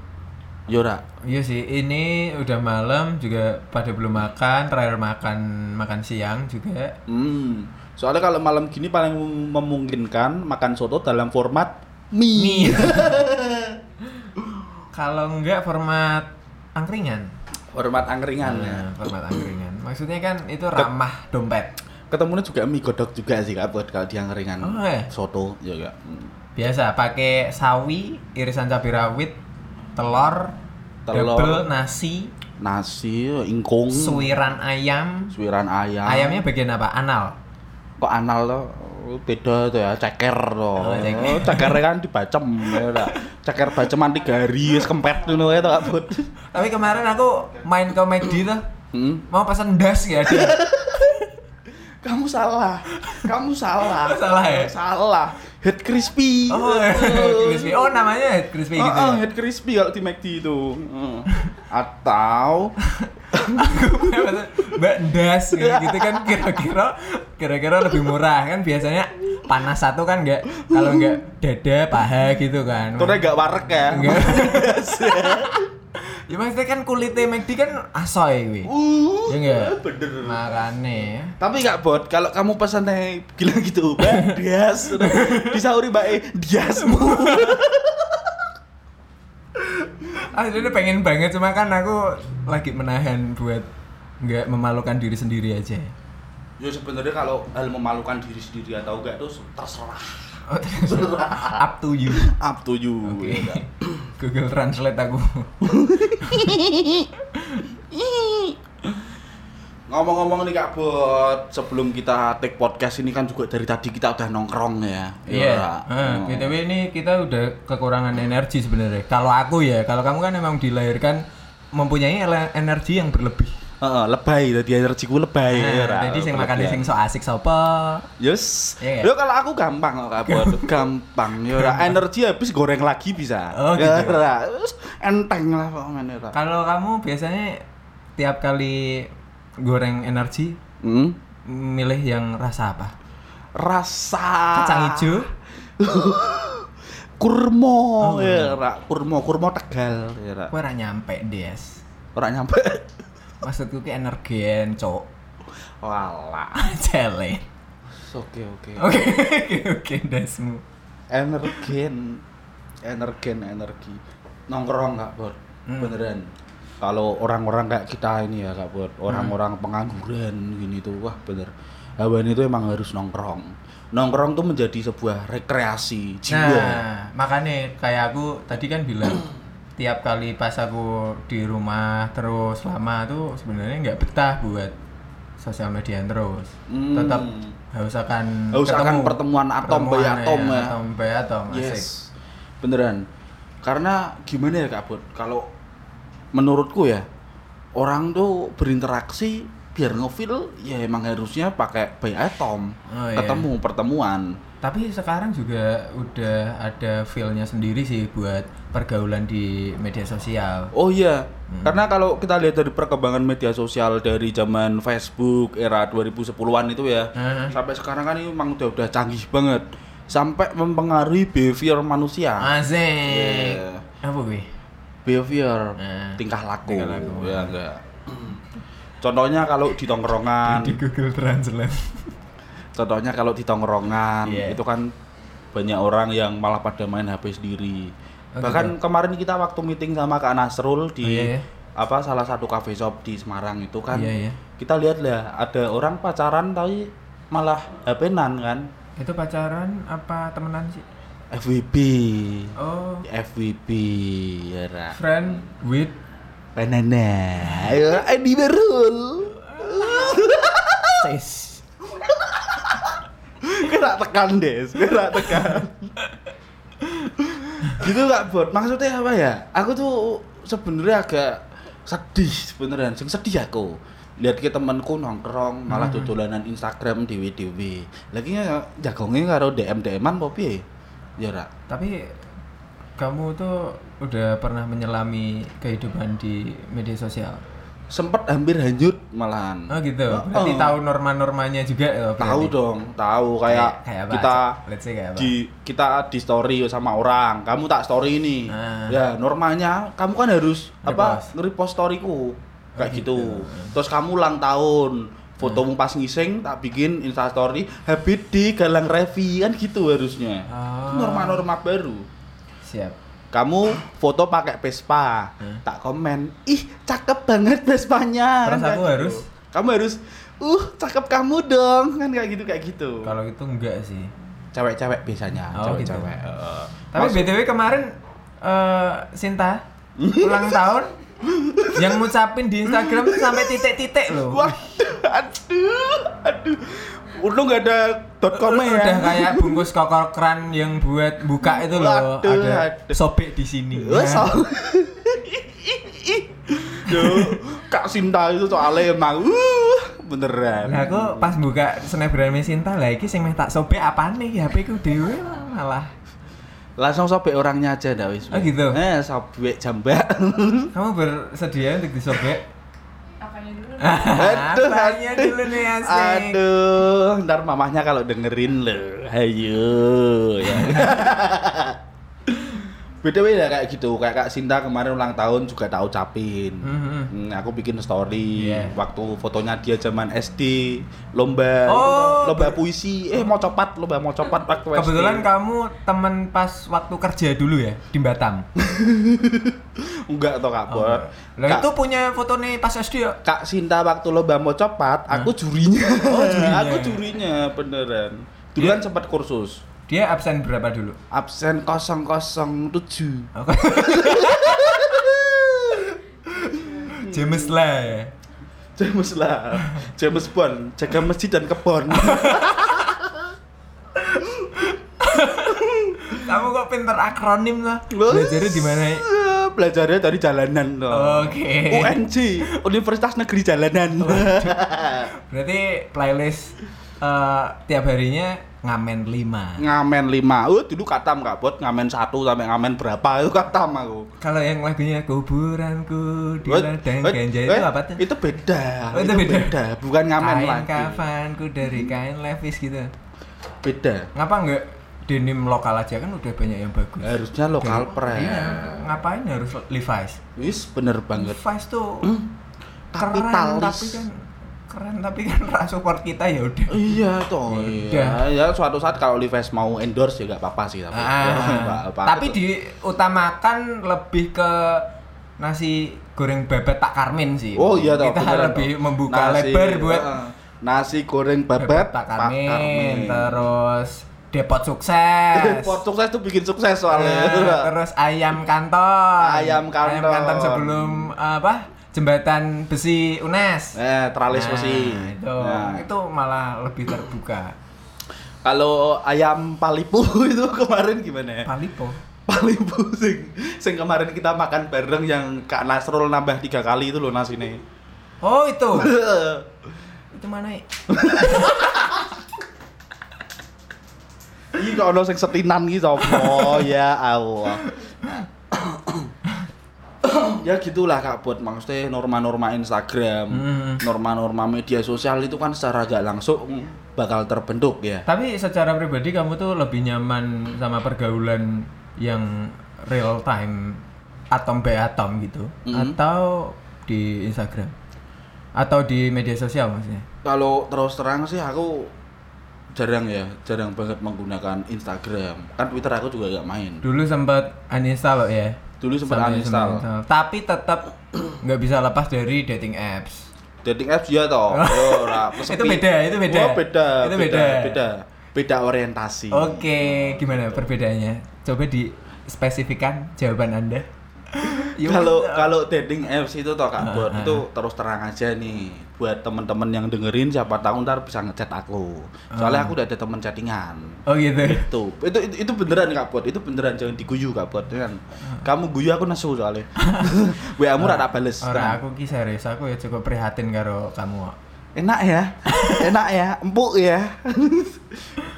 Speaker 2: yora
Speaker 1: Iya sih, ini udah malam juga pada belum makan, terakhir makan makan siang juga.
Speaker 2: hmm. soalnya kalau malam gini paling Iya. memungkinkan makan soto dalam format
Speaker 1: Mie.
Speaker 2: mie,
Speaker 1: Kalau enggak format angkringan.
Speaker 2: Hormat angkringan ya.
Speaker 1: Nah, format angkringan. Maksudnya kan itu ramah dompet.
Speaker 2: Ketemunya juga mie godok juga sih kak buat kalau di angkringan.
Speaker 1: Oh, iya.
Speaker 2: Soto juga. Hmm.
Speaker 1: Biasa pakai sawi, irisan cabai rawit, telur,
Speaker 2: Telur.
Speaker 1: double nasi,
Speaker 2: Nasi, ingkung,
Speaker 1: suiran ayam.
Speaker 2: suiran ayam.
Speaker 1: Ayamnya bagian apa? Anal.
Speaker 2: kok anal lo beda tuh ya ceker loh
Speaker 1: Oh, ceker.
Speaker 2: oh, ceker kan dibacem ya tak? ceker baceman tiga hari wis kempet dulu ya tak bud
Speaker 1: Tapi kemarin aku main ke McD tuh.
Speaker 2: hmm?
Speaker 1: Mau pesan das ya
Speaker 2: Iya.
Speaker 1: ada.
Speaker 2: kamu salah kamu salah
Speaker 1: Salah ya?
Speaker 2: salah head crispy
Speaker 1: Oh, crispy. Oh, namanya head crispy
Speaker 2: Oh,
Speaker 1: gitu.
Speaker 2: oh,
Speaker 1: ya?
Speaker 2: head crispy kalau di McD itu Hmm. atau
Speaker 1: Mbak das
Speaker 2: Iya.
Speaker 1: kayak gitu kan kira-kira kira-kira lebih murah kan biasanya panas satu kan enggak kalau enggak dada paha gitu kan.
Speaker 2: turnya gak warek ya
Speaker 1: Enggak. Iya. ya maksudnya kan kulitnya McD kan asoy gue.
Speaker 2: Uh,
Speaker 1: Ya enggak?
Speaker 2: bener
Speaker 1: Makane.
Speaker 2: Tapi gak bot, kalau kamu pesannya gila gitu, Mbak Dias, disauri Mbak E, Diasmu.
Speaker 1: Aslinya Ah, pengen banget cuma kan aku lagi menahan buat enggak memalukan diri sendiri aja.
Speaker 2: Ya sebenarnya kalau hal memalukan diri sendiri atau enggak itu terserah.
Speaker 1: Oh, terus up to you.
Speaker 2: Up to you.
Speaker 1: Oke.
Speaker 2: ya enggak?
Speaker 1: Google Translate aku.
Speaker 2: Ngomong-ngomong nih Kak Bot, sebelum kita take podcast ini kan juga dari tadi kita udah nongkrong ya. Oh.
Speaker 1: Iya. Heeh, BTW ini kita udah kekurangan energi sebenarnya. Kalau aku ya, kalau kamu kan memang dilahirkan mempunyai ele- energi yang berlebih.
Speaker 2: Heeh, lebay tadi energiku lebay. ya, Ra.
Speaker 1: Nah, jadi sing makan
Speaker 2: Berlebihan.
Speaker 1: sing so asik sopo.
Speaker 2: Yes.
Speaker 1: Iya,
Speaker 2: Yo kalau aku gampang kok Kak Bot, gampang. Yo Ra. energi habis goreng lagi bisa.
Speaker 1: Oh,
Speaker 2: Ya,
Speaker 1: gitu.
Speaker 2: Ra. Terus enteng lah pokoknya Ra.
Speaker 1: Kalau kamu biasanya tiap kali goreng energi
Speaker 2: Hmm.
Speaker 1: milih yang rasa apa?
Speaker 2: Rasa
Speaker 1: Kacang hijau?
Speaker 2: kurma
Speaker 1: Oh, iya.
Speaker 2: ya Ra. kurma kurma tegal ya Ra.
Speaker 1: Aku ora nyampe, Des.
Speaker 2: Orang nyampe.
Speaker 1: Maksudku ki energen, cok.
Speaker 2: Walah.
Speaker 1: Cele.
Speaker 2: Oke oke.
Speaker 1: Oke, oke, oke, Desmu.
Speaker 2: Energen, energen energi. Nongkrong nggak bot?
Speaker 1: Hmm.
Speaker 2: Beneran. Kalau orang-orang kayak kita ini ya kak bot, orang-orang pengangguran gini tuh wah bener. Hawan itu emang harus nongkrong. Nongkrong tuh menjadi sebuah rekreasi jiwa.
Speaker 1: Nah, makanya kayak aku tadi kan bilang tiap kali pas aku di rumah terus lama tuh sebenarnya nggak betah buat sosial media terus.
Speaker 2: Hmm.
Speaker 1: Tetap harus akan
Speaker 2: Haus akan pertemuan atom by
Speaker 1: Pertemuan, iya,
Speaker 2: atom ya.
Speaker 1: Atom by atom, asik.
Speaker 2: Yes. Beneran. Karena gimana ya Kak Bud? Kalau menurutku ya, orang tuh berinteraksi biar ngefeel ya emang harusnya pakai by atom.
Speaker 1: Oh, iya.
Speaker 2: ketemu pertemuan.
Speaker 1: Tapi sekarang juga udah ada feel-nya sendiri sih buat pergaulan di media sosial.
Speaker 2: Oh iya,
Speaker 1: Hmm.
Speaker 2: karena kalau kita lihat dari perkembangan media sosial dari zaman Facebook era 2010-an itu ya,
Speaker 1: Heeh.
Speaker 2: sampai sekarang kan ini memang udah udah canggih banget. Sampai mempengaruhi behavior manusia.
Speaker 1: Asik.
Speaker 2: Iya.
Speaker 1: Apa gue?
Speaker 2: behavior
Speaker 1: Nah,
Speaker 2: tingkah laku,
Speaker 1: tingkah laku.
Speaker 2: ya enggak contohnya kalau di tongkrongan
Speaker 1: Google Translate.
Speaker 2: contohnya kalau di tongkrongan
Speaker 1: Iya.
Speaker 2: itu kan banyak orang yang malah pada main HP sendiri
Speaker 1: Oh,
Speaker 2: bahkan kemarin kita waktu meeting sama Kak
Speaker 1: Oh,
Speaker 2: Nasrul di
Speaker 1: iya, iya.
Speaker 2: apa salah satu cafe shop di Semarang itu kan
Speaker 1: Iya, iya.
Speaker 2: kita lihat lah ada orang pacaran tapi malah HP-nan kan
Speaker 1: Itu pacaran apa temenan sih?
Speaker 2: FWB
Speaker 1: Oh,
Speaker 2: FWB ya Ra.
Speaker 1: friend with
Speaker 2: Banana. Ayo, Adi Barul.
Speaker 1: sis.
Speaker 2: Kena tekan, Des. Kena tekan. gitu gak, Bot? Maksudnya apa ya? Aku tuh sebenarnya agak sedih sebenarnya. Sing sedih aku. Lihat ke temanku nongkrong malah
Speaker 1: Hmm.
Speaker 2: dodolanan Instagram dewe-dewe. Lagi ya, jagongnya karo DM-DM-an apa piye? Ya rak.
Speaker 1: Tapi kamu tuh udah pernah menyelami kehidupan di media sosial.
Speaker 2: Sempet hampir hanyut malahan.
Speaker 1: Oh gitu. Berarti
Speaker 2: Oh, oh.
Speaker 1: tahu norma-normanya juga ya. berarti?
Speaker 2: Hmm. Tahu dong, tahu kayak,
Speaker 1: kayak apa?
Speaker 2: kita
Speaker 1: Let's say kayak apa?
Speaker 2: di kita di story sama orang kamu tak story ini
Speaker 1: Ah.
Speaker 2: ya normanya kamu kan harus
Speaker 1: Repost.
Speaker 2: apa nge-repost storyku
Speaker 1: Oh,
Speaker 2: kayak gitu.
Speaker 1: gitu. Hmm.
Speaker 2: terus kamu ulang tahun fotomu pas ngising tak bikin insta story habib di galang revi kan gitu harusnya
Speaker 1: Ah.
Speaker 2: norma-norma baru
Speaker 1: Siap.
Speaker 2: kamu foto pakai Vespa tak komen ih cakep banget Vespanya
Speaker 1: Terus
Speaker 2: Kan kayak
Speaker 1: aku
Speaker 2: gitu.
Speaker 1: harus?
Speaker 2: kamu harus uh cakep kamu dong kan kayak gitu kayak gitu
Speaker 1: Kalau itu enggak sih.
Speaker 2: cewek-cewek biasanya
Speaker 1: Oh, gitu.
Speaker 2: cewek-cewek Heeh.
Speaker 1: Tapi
Speaker 2: Maksud-
Speaker 1: BTW kemarin eh Sinta ulang tahun yang ngucapin di Instagram tuh sampai titik-titik loh.
Speaker 2: waduh aduh aduh untung gak ada dot com
Speaker 1: Lu
Speaker 2: ya
Speaker 1: udah kayak bungkus kokor keran yang buat buka itu loh.
Speaker 2: Waduh,
Speaker 1: ada
Speaker 2: aduh.
Speaker 1: sobek di sini.
Speaker 2: Wes,
Speaker 1: Ya.
Speaker 2: so-
Speaker 1: Iya.
Speaker 2: Duh, Kak Sinta itu soalnya emang uh, beneran.
Speaker 1: Nah, aku pas buka snapgramnya Sinta lah iki sing meh tak sobek apa nih HP ku dhewe lah, malah.
Speaker 2: Langsung sobek orangnya aja ndak wis.
Speaker 1: Oh, gitu?
Speaker 2: Eh, sobek jambak.
Speaker 1: Kamu bersedia untuk disobek?
Speaker 3: apanya dulu
Speaker 2: aduh,
Speaker 1: Apanya Ah, dulu nih asik.
Speaker 2: Aduh, ntar mamahnya kalau dengerin lo. Ayo ya. BTW ya kayak gitu, kayak Kak Sinta kemarin ulang tahun juga tak ucapin.
Speaker 1: Mhm.
Speaker 2: Hmm, aku bikin story
Speaker 1: Iya.
Speaker 2: waktu fotonya dia zaman SD lomba
Speaker 1: Oh,
Speaker 2: itu, lomba
Speaker 1: ber-
Speaker 2: puisi eh mau copat lomba mau copat waktu SD.
Speaker 1: Kebetulan kamu temen pas waktu kerja dulu ya di Batam.
Speaker 2: enggak toh Kak Bot.
Speaker 1: Oh, iya. Lah
Speaker 2: Kak-
Speaker 1: itu punya foto nih pas SD ya.
Speaker 2: Kak Sinta waktu lomba mau copat, aku jurinya.
Speaker 1: Oh, jurinya. Iya.
Speaker 2: aku jurinya beneran. Dulu kan sempat kursus.
Speaker 1: Dia absen berapa dulu?
Speaker 2: Absen 007.
Speaker 1: Oke. James lah ya.
Speaker 2: James lah. James Bond, jaga masjid dan kebon.
Speaker 1: Kamu kok pinter akronim lah. Belajarnya di mana? ya?
Speaker 2: Belajarnya dari jalanan loh.
Speaker 1: Oke. Oh,
Speaker 2: UNJ, Universitas Negeri Jalanan.
Speaker 1: Berarti playlist eh, tiap harinya ngamen 5.
Speaker 2: ngamen 5. Uh, dulu katam Kak Bot, ngamen 1 sampai ngamen berapa? Itu katam aku.
Speaker 1: Kalau yang lagunya kuburanku di
Speaker 2: Wait,
Speaker 1: ladang
Speaker 2: wait,
Speaker 1: ganja
Speaker 2: wait,
Speaker 1: Iya, itu apa tuh?
Speaker 2: Itu beda.
Speaker 1: Oh, itu beda.
Speaker 2: bukan ngamen
Speaker 1: kain
Speaker 2: lagi.
Speaker 1: kafanku dari kain levis gitu.
Speaker 2: Beda.
Speaker 1: Ngapa enggak denim lokal aja kan udah banyak yang bagus.
Speaker 2: Harusnya lokal press.
Speaker 1: Iya, ngapain harus Levi's?
Speaker 2: Wis bener banget. Hmm,
Speaker 1: Levi's tuh keren
Speaker 2: kapitalis.
Speaker 1: tapi kan keren tapi kan rak support kita ya udah.
Speaker 2: Iya toh.
Speaker 1: Iya.
Speaker 2: Iya. Ya suatu saat kalau Levi's mau endorse ya gak apa-apa sih tapi. Ya,
Speaker 1: Ah,
Speaker 2: nggak apa-apa
Speaker 1: tapi
Speaker 2: tuh.
Speaker 1: diutamakan lebih ke nasi goreng bebek tak karmin sih.
Speaker 2: Oh iya toh.
Speaker 1: Kita
Speaker 2: beneran
Speaker 1: lebih
Speaker 2: toh.
Speaker 1: membuka
Speaker 2: Nasi-
Speaker 1: lebar buat
Speaker 2: Heeh. nasi goreng bebek
Speaker 1: tak
Speaker 2: Pak
Speaker 1: karmin,
Speaker 2: Karmin.
Speaker 1: terus depot sukses.
Speaker 2: Pot sukses tuh bikin sukses
Speaker 1: Nah,
Speaker 2: soalnya.
Speaker 1: terus ayam kanton.
Speaker 2: Ayam kanton.
Speaker 1: Ayam kanton sebelum apa? Jembatan besi UNES.
Speaker 2: Eh, teralis mesti.
Speaker 1: Nah, itu,
Speaker 2: Nah.
Speaker 1: itu malah lebih terbuka.
Speaker 2: Kalau ayam palipu itu kemarin gimana ya?
Speaker 1: Palipo.
Speaker 2: Palipu sing, sing kemarin kita makan bareng yang Kak Nasrul nambah tiga kali itu loh nasinya.
Speaker 1: Oh itu. itu mana? ya?
Speaker 2: Iki kok ono sing setinan iki sapa? ya Allah. ya gitulah Kak Bot, maksudnya norma-norma Instagram,
Speaker 1: Hmm.
Speaker 2: norma-norma media sosial itu kan secara gak langsung bakal terbentuk ya.
Speaker 1: Tapi secara pribadi kamu tuh lebih nyaman sama pergaulan yang real time atom by atom gitu
Speaker 2: Mhm.
Speaker 1: atau di Instagram atau di media sosial maksudnya.
Speaker 2: Kalau terus terang sih aku jarang ya, jarang banget menggunakan Instagram. Kan Twitter aku juga gak main.
Speaker 1: Dulu sempat uninstall ya.
Speaker 2: Dulu sempat uninstall.
Speaker 1: Tapi tetap nggak bisa lepas dari dating apps.
Speaker 2: Dating apps ya toh. Oh, ora, kesepi.
Speaker 1: Itu beda, itu beda.
Speaker 2: Oh, beda.
Speaker 1: Itu
Speaker 2: beda,
Speaker 1: beda. Oh,
Speaker 2: beda. Beda orientasi.
Speaker 1: Oke, gimana perbedaannya? Coba di spesifikan jawaban Anda. Yuk.
Speaker 2: kalau kalau dating apps itu
Speaker 1: Ah,
Speaker 2: toh kak Bot,
Speaker 1: ah,
Speaker 2: itu terus terang aja nih buat temen-temen yang dengerin siapa tahu ntar bisa ngechat aku soalnya aku udah ada temen chattingan
Speaker 1: Oh gitu.
Speaker 2: tuh itu, itu itu beneran kak Bot, itu beneran jangan diguyu kak Bot, kan kamu guyu aku nesu soalnya wa mu rata bales
Speaker 1: Ora aku ki serius, aku ya cukup prihatin karo kamu. kok.
Speaker 2: enak ya enak ya empuk ya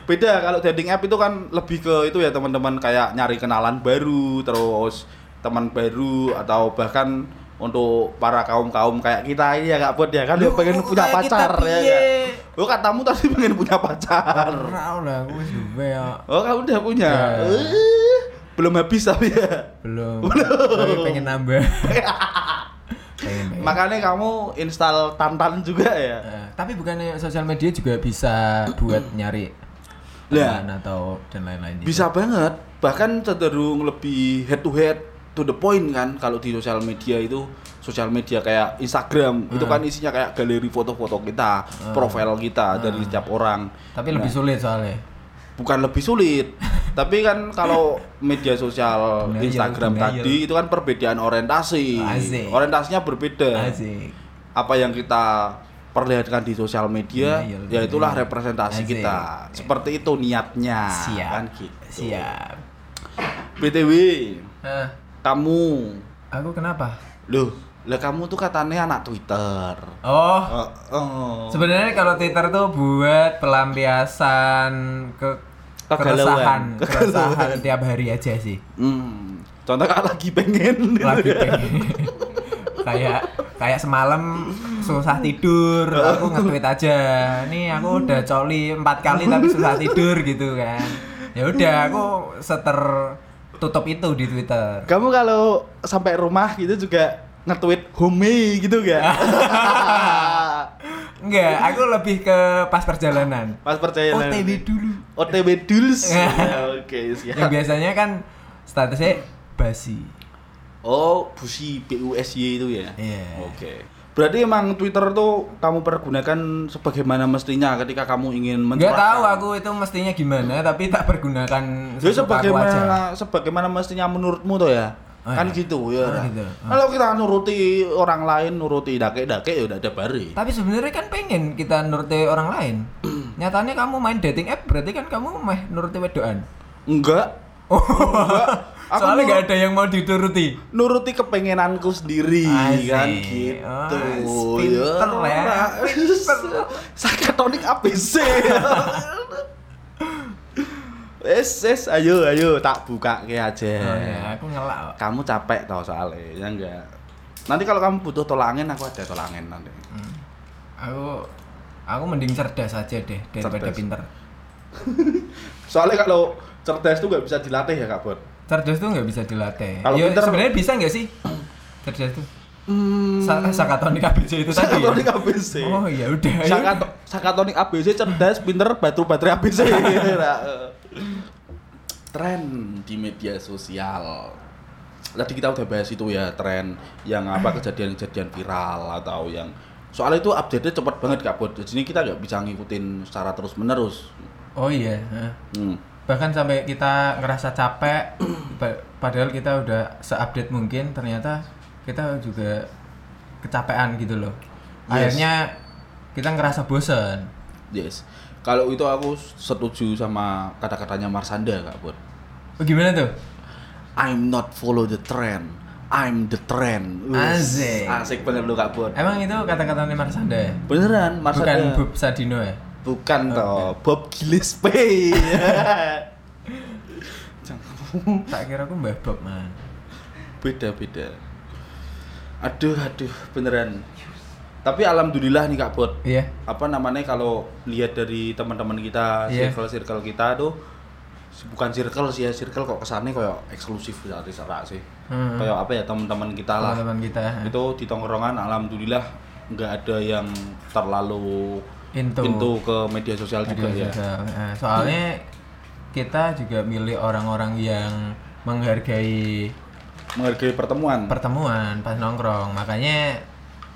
Speaker 2: beda kalau dating app itu kan lebih ke itu ya teman-teman kayak nyari kenalan baru terus teman baru atau bahkan untuk para kaum kaum kayak kita ini ya kak buat ya kan dia
Speaker 1: Loh,
Speaker 2: pengen
Speaker 1: kok
Speaker 2: punya
Speaker 1: kayak
Speaker 2: pacar
Speaker 1: kita
Speaker 2: ya
Speaker 1: piye?
Speaker 2: kan? oh katamu tadi pengen punya pacar
Speaker 1: Ora lah Nah, aku wis duwe ya. kok.
Speaker 2: oh kamu udah punya
Speaker 1: Ya.
Speaker 2: Eh, belum habis tapi ya
Speaker 1: Belum. Tapi pengen nambah. pengen pengen.
Speaker 2: makanya kamu install tantan juga ya
Speaker 1: Eh, tapi bukannya sosial media juga bisa buat nyari
Speaker 2: Lah.
Speaker 1: teman atau dan lain-lain gitu.
Speaker 2: bisa banget bahkan cenderung lebih head to head to the point kan kalau di sosial media itu sosial media kayak Instagram itu
Speaker 1: Hmm.
Speaker 2: kan isinya kayak galeri foto-foto kita, profil kita dari setiap orang.
Speaker 1: Tapi
Speaker 2: Nah,
Speaker 1: lebih sulit soalnya.
Speaker 2: bukan lebih sulit tapi kan kalau media sosial
Speaker 1: Denial,
Speaker 2: Instagram
Speaker 1: denial.
Speaker 2: tadi itu kan perbedaan orientasi
Speaker 1: Asik.
Speaker 2: orientasinya berbeda
Speaker 1: Asik.
Speaker 2: apa yang kita perlihatkan di sosial media
Speaker 1: Denial,
Speaker 2: ya itulah
Speaker 1: denial.
Speaker 2: representasi
Speaker 1: Iya, Asik.
Speaker 2: kita seperti itu niatnya
Speaker 1: Siap.
Speaker 2: kan gitu.
Speaker 1: Siap.
Speaker 2: BTW
Speaker 1: Eh,
Speaker 2: kamu
Speaker 1: aku kenapa?
Speaker 2: loh lah kamu tuh katanya anak Twitter
Speaker 1: Oh,
Speaker 2: Eh, eh.
Speaker 1: Sebenarnya kalau Twitter tuh buat pelampiasan ke keresahan,
Speaker 2: Kegalauan.
Speaker 1: keresahan tiap hari aja sih.
Speaker 2: Hmm, contoh kalau lagi pengen gitu
Speaker 1: Lagi
Speaker 2: ya.
Speaker 1: pengen. kayak kayak semalam susah tidur, aku nge-tweet aja. Nih aku udah coli empat kali tapi susah tidur gitu kan. Ya udah aku seter tutup itu di Twitter.
Speaker 2: Kamu kalau sampai rumah gitu juga nge-tweet home gitu gak?
Speaker 1: Enggak, aku lebih ke pas perjalanan.
Speaker 2: Mas percaya lah.
Speaker 1: OTW dulu.
Speaker 2: OTW duls. Ya, Oke,
Speaker 1: Yang
Speaker 2: siap.
Speaker 1: biasanya kan statusnya basi.
Speaker 2: Oh, busi BUSY itu ya.
Speaker 1: Iya.
Speaker 2: Oke. Berarti emang Twitter tuh kamu pergunakan sebagaimana mestinya ketika kamu ingin
Speaker 1: Nggak tahu
Speaker 2: mencurahkan.
Speaker 1: aku itu mestinya gimana, tapi tak pergunakan sesuka
Speaker 2: Ya
Speaker 1: aku aja.
Speaker 2: sebagaimana sebagaimana mestinya menurutmu tuh ya.
Speaker 1: Oh,
Speaker 2: kan
Speaker 1: iya.
Speaker 2: gitu ya.
Speaker 1: Oh,
Speaker 2: Ra.
Speaker 1: gitu. Oh.
Speaker 2: Kalau kita nuruti orang lain, nuruti dake-dake ya udah ada bari.
Speaker 1: Tapi sebenarnya kan pengen kita nuruti orang lain. Nyatanya kamu main dating app berarti kan kamu meh nuruti wedoan.
Speaker 2: Enggak,
Speaker 1: Oh,
Speaker 2: aku
Speaker 1: soalnya
Speaker 2: nur-
Speaker 1: nggak ada yang mau dituruti.
Speaker 2: nuruti kepengenanku sendiri
Speaker 1: Asik.
Speaker 2: kan gitu
Speaker 1: Ah, Oh, pinter ya.
Speaker 2: Ra.
Speaker 1: Pinter.
Speaker 2: sakatonik ABC es es ayo ayo tak buka ke aja
Speaker 1: Oh, ya, aku ngelak. kok.
Speaker 2: kamu capek tau soalnya ya enggak nanti kalau kamu butuh tolangin aku ada tolangin nanti
Speaker 1: Aku aku mending cerdas aja deh daripada
Speaker 2: Cerdas.
Speaker 1: pinter.
Speaker 2: soalnya kalau cerdas tuh nggak bisa dilatih ya kak Bud
Speaker 1: Cerdas tuh nggak bisa dilatih.
Speaker 2: Kalau
Speaker 1: Ya,
Speaker 2: pinter-
Speaker 1: sebenarnya bisa nggak sih? Cerdas tuh.
Speaker 2: hmm,
Speaker 1: Sa sakatonik ABC itu tadi. ya?
Speaker 2: sakatonik ABC
Speaker 1: Oh ya udah. ya udah.
Speaker 2: Sakato- Sakatonik ABC cerdas, pinter, batu baterai ABC. Nah, eh. tren di media sosial. Tadi kita udah bahas itu ya tren yang apa kejadian-kejadian viral atau yang soalnya itu update-nya cepat banget kak Bud. Jadi kita nggak bisa ngikutin secara terus menerus.
Speaker 1: Oh iya. Hah.
Speaker 2: Hmm.
Speaker 1: bahkan sampai kita ngerasa capek pa- padahal kita udah seupdate mungkin ternyata kita juga kecapean gitu loh
Speaker 2: Yes.
Speaker 1: akhirnya kita ngerasa bosen
Speaker 2: Yes. Kalau itu aku setuju sama kata-katanya Marsanda kak Bud.
Speaker 1: Oh, gimana tuh
Speaker 2: I'm not follow the trend. I'm the trend. Wes,
Speaker 1: Asik.
Speaker 2: Asik bener lu kak Bud.
Speaker 1: emang itu kata-kata Neymar Sanda ya?
Speaker 2: Beneran
Speaker 1: bukan
Speaker 2: Marsanda.
Speaker 1: Bob Sadino ya
Speaker 2: Bukan toh, Bob Gillespie.
Speaker 1: tak kira aku Mbah Bob man
Speaker 2: Beda-beda. Aduh, aduh, beneran. Tapi alhamdulillah nih Kak Bot.
Speaker 1: iya
Speaker 2: Apa namanya kalau lihat dari teman-teman kita,
Speaker 1: Iya.
Speaker 2: circle-circle kita tuh bukan circle sih ya, circle kok kesannya kayak eksklusif dari serak sih.
Speaker 1: Hmm.
Speaker 2: Kayak apa ya teman-teman kita lah.
Speaker 1: teman-teman kita ha.
Speaker 2: Itu di tongkrongan alhamdulillah nggak ada yang terlalu
Speaker 1: Into.
Speaker 2: pintu ke media sosial juga
Speaker 1: Media
Speaker 2: ya.
Speaker 1: sosial. Eh, soalnya kita juga milih orang-orang yang menghargai
Speaker 2: Menghargai pertemuan.
Speaker 1: pertemuan pas nongkrong makanya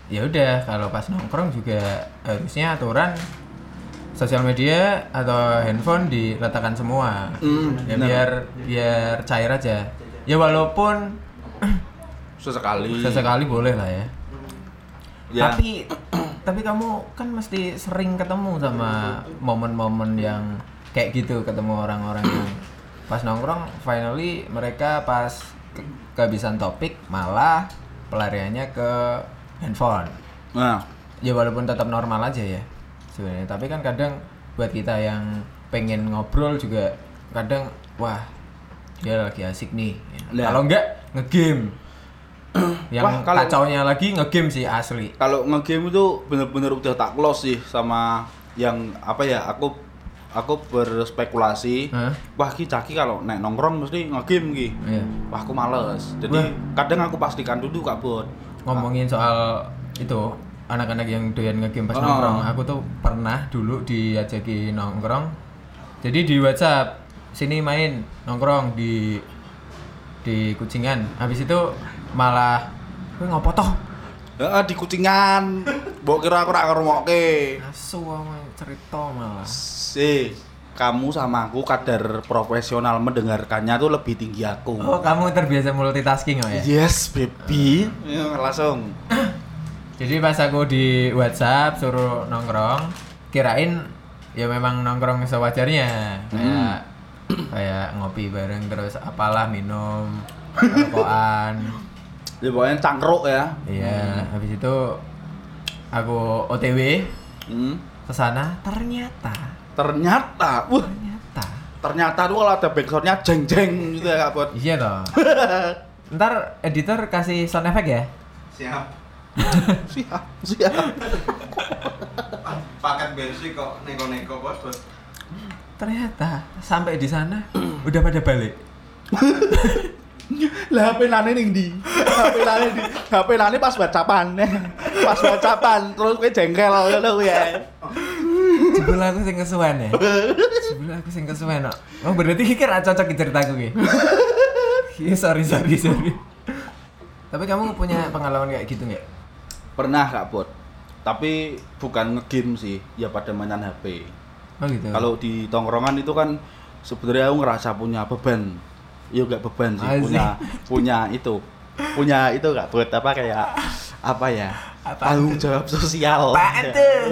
Speaker 1: ya udah kalau pas nongkrong juga harusnya aturan sosial media atau handphone diletakkan semua
Speaker 2: Hmm,
Speaker 1: ya
Speaker 2: benar.
Speaker 1: biar biar cair aja ya walaupun
Speaker 2: sesekali.
Speaker 1: sesekali boleh lah ya,
Speaker 2: Ya.
Speaker 1: tapi tapi kamu kan mesti sering ketemu sama momen-momen yang kayak gitu ketemu orang-orang yang pas nongkrong finally mereka pas ke- kehabisan topik malah pelariannya ke handphone
Speaker 2: Nah,
Speaker 1: ya walaupun tetap normal aja ya sebenarnya tapi kan kadang buat kita yang pengen ngobrol juga kadang wah dia lagi asik nih
Speaker 2: Lah.
Speaker 1: kalau enggak ngegame yang
Speaker 2: Wah, kalau-
Speaker 1: kacaunya lagi ngegame sih asli
Speaker 2: kalau ngegame itu bener-bener udah tak close sih sama yang apa ya aku aku berspekulasi
Speaker 1: Hah?
Speaker 2: wah ki caki kalau naik nongkrong mesti ngegame ki
Speaker 1: Iya.
Speaker 2: wah aku males jadi kadang aku pastikan dulu kak Bud
Speaker 1: ngomongin soal itu anak-anak yang doyan ngegame pas
Speaker 2: Oh.
Speaker 1: nongkrong aku tuh pernah dulu diajakin nongkrong jadi di WhatsApp sini main nongkrong di di Kucingan. Habis itu malah gue ngopo toh.
Speaker 2: Heeh, di kucingan. Mbok kira aku ora ngrungokke.
Speaker 1: Asu sama cerita malah.
Speaker 2: Si, kamu sama aku kadar profesional mendengarkannya tuh lebih tinggi aku.
Speaker 1: Oh, kamu terbiasa multitasking oh ya.
Speaker 2: Yes, baby. Ya, langsung.
Speaker 1: Jadi pas aku di WhatsApp suruh nongkrong, kirain ya memang nongkrong sewajarnya. Kayak kayak ngopi bareng terus apalah minum rokokan.
Speaker 2: Jadi pokoknya cangkruk ya.
Speaker 1: Iya, habis itu aku OTW
Speaker 2: Hmm.
Speaker 1: ke sana ternyata
Speaker 2: Ternyata, wah,
Speaker 1: ternyata
Speaker 2: ternyata tuh kalau ada backsoundnya jeng-jeng gitu ya, Kak Bot.
Speaker 1: iya toh. Ntar editor kasih sound effect ya.
Speaker 3: Siap.
Speaker 2: siap, siap.
Speaker 3: Pa- Paket bensin kok neko-neko bos bos.
Speaker 1: Ternyata sampai di sana udah pada balik.
Speaker 2: Lah HP lane ning ndi? HP lane di HP lane pas wacapan. Pas wacapan terus kowe jengkel ngono kuwi ya.
Speaker 1: Jebul aku sing kesuwen ya. Jebul aku sing kesuwen kok. Oh berarti iki ra cocok di ceritaku ki. Iya sorry sorry sorry. Tapi kamu punya pengalaman kayak gitu nggak?
Speaker 2: Pernah Kak Bot. Tapi bukan ngegame sih, ya pada mainan HP.
Speaker 1: Oh gitu.
Speaker 2: Iya. Kalau di tongkrongan itu kan sebenarnya aku ngerasa punya beban. Ya enggak beban sih,
Speaker 1: Asik.
Speaker 2: punya punya itu. Punya itu Kak Bot apa kayak apa ya?
Speaker 1: Apa
Speaker 2: tanggung jawab sosial.
Speaker 1: Apaan
Speaker 2: Ya.
Speaker 1: tuh?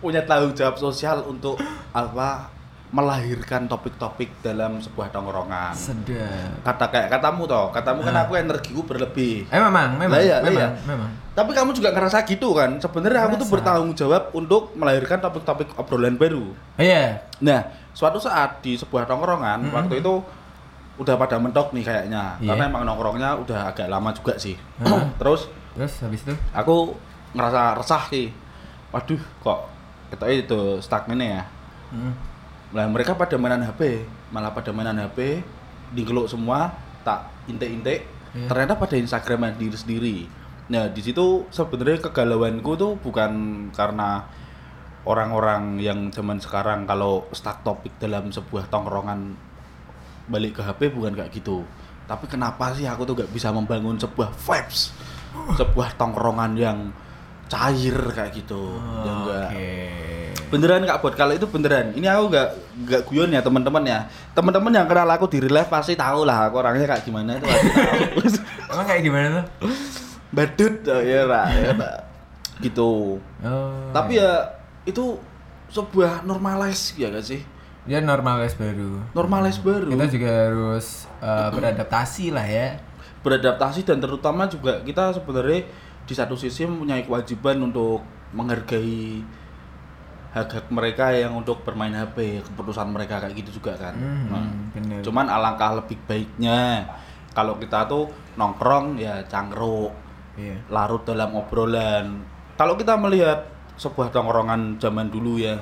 Speaker 2: punya tanggung jawab sosial untuk apa melahirkan topik-topik dalam sebuah tongkrongan.
Speaker 1: Sedap.
Speaker 2: Kata kayak katamu toh, katamu kan
Speaker 1: Ah.
Speaker 2: aku energiku berlebih.
Speaker 1: Eh memang, memang,
Speaker 2: Lah iya, lah
Speaker 1: memang,
Speaker 2: iya.
Speaker 1: memang.
Speaker 2: Tapi kamu juga ngerasa gitu kan? Sebenarnya aku tuh
Speaker 1: Ngerasa.
Speaker 2: bertanggung jawab untuk melahirkan topik-topik obrolan baru.
Speaker 1: Oh iya.
Speaker 2: Nah, suatu saat di sebuah tongkrongan
Speaker 1: Mm-mm.
Speaker 2: waktu itu udah pada mentok nih kayaknya.
Speaker 1: Iya.
Speaker 2: Karena emang nongkrongnya udah agak lama juga sih.
Speaker 1: Ah.
Speaker 2: Terus
Speaker 1: Terus habis itu?
Speaker 2: aku ngerasa resah sih. Waduh, kok kita itu stagnan ya.
Speaker 1: Mm.
Speaker 2: Nah, mereka pada mainan HP, malah pada mainan HP, digeluk semua, tak intek-intek.
Speaker 1: Iya.
Speaker 2: Ternyata pada Instagram diri sendiri. Nah, di situ sebenarnya kegalauanku tuh bukan karena orang-orang yang zaman sekarang kalau stuck topik dalam sebuah tongkrongan balik ke HP bukan kayak gitu. Tapi kenapa sih aku tuh gak bisa membangun sebuah vibes, sebuah tongkrongan yang cair kayak gitu. yang
Speaker 1: Oh,
Speaker 2: gak-
Speaker 1: Oke.
Speaker 2: beneran kak buat kalau itu beneran ini aku nggak nggak guyon ya teman-teman ya teman-teman yang kenal aku di relive pasti tahu lah aku orangnya kayak gimana itu pasti tahu
Speaker 1: Emang kayak gimana tuh?
Speaker 2: badut oh, ya Ra, ya, Ra. gitu
Speaker 1: Oh.
Speaker 2: tapi ya itu sebuah normalize ya gak sih
Speaker 1: Dia normalis baru.
Speaker 2: normalize baru
Speaker 1: Kita juga harus eh, beradaptasi lah ya.
Speaker 2: beradaptasi dan terutama juga kita sebenarnya di satu sisi mempunyai kewajiban untuk menghargai hak-hak mereka yang untuk bermain HP keputusan mereka kayak gitu juga kan
Speaker 1: Hmm,
Speaker 2: Nah.
Speaker 1: bener.
Speaker 2: Cuman alangkah lebih baiknya kalau kita tuh nongkrong ya cangkruk,
Speaker 1: Iya.
Speaker 2: larut dalam obrolan. Kalau kita melihat sebuah tongkrongan zaman dulu ya,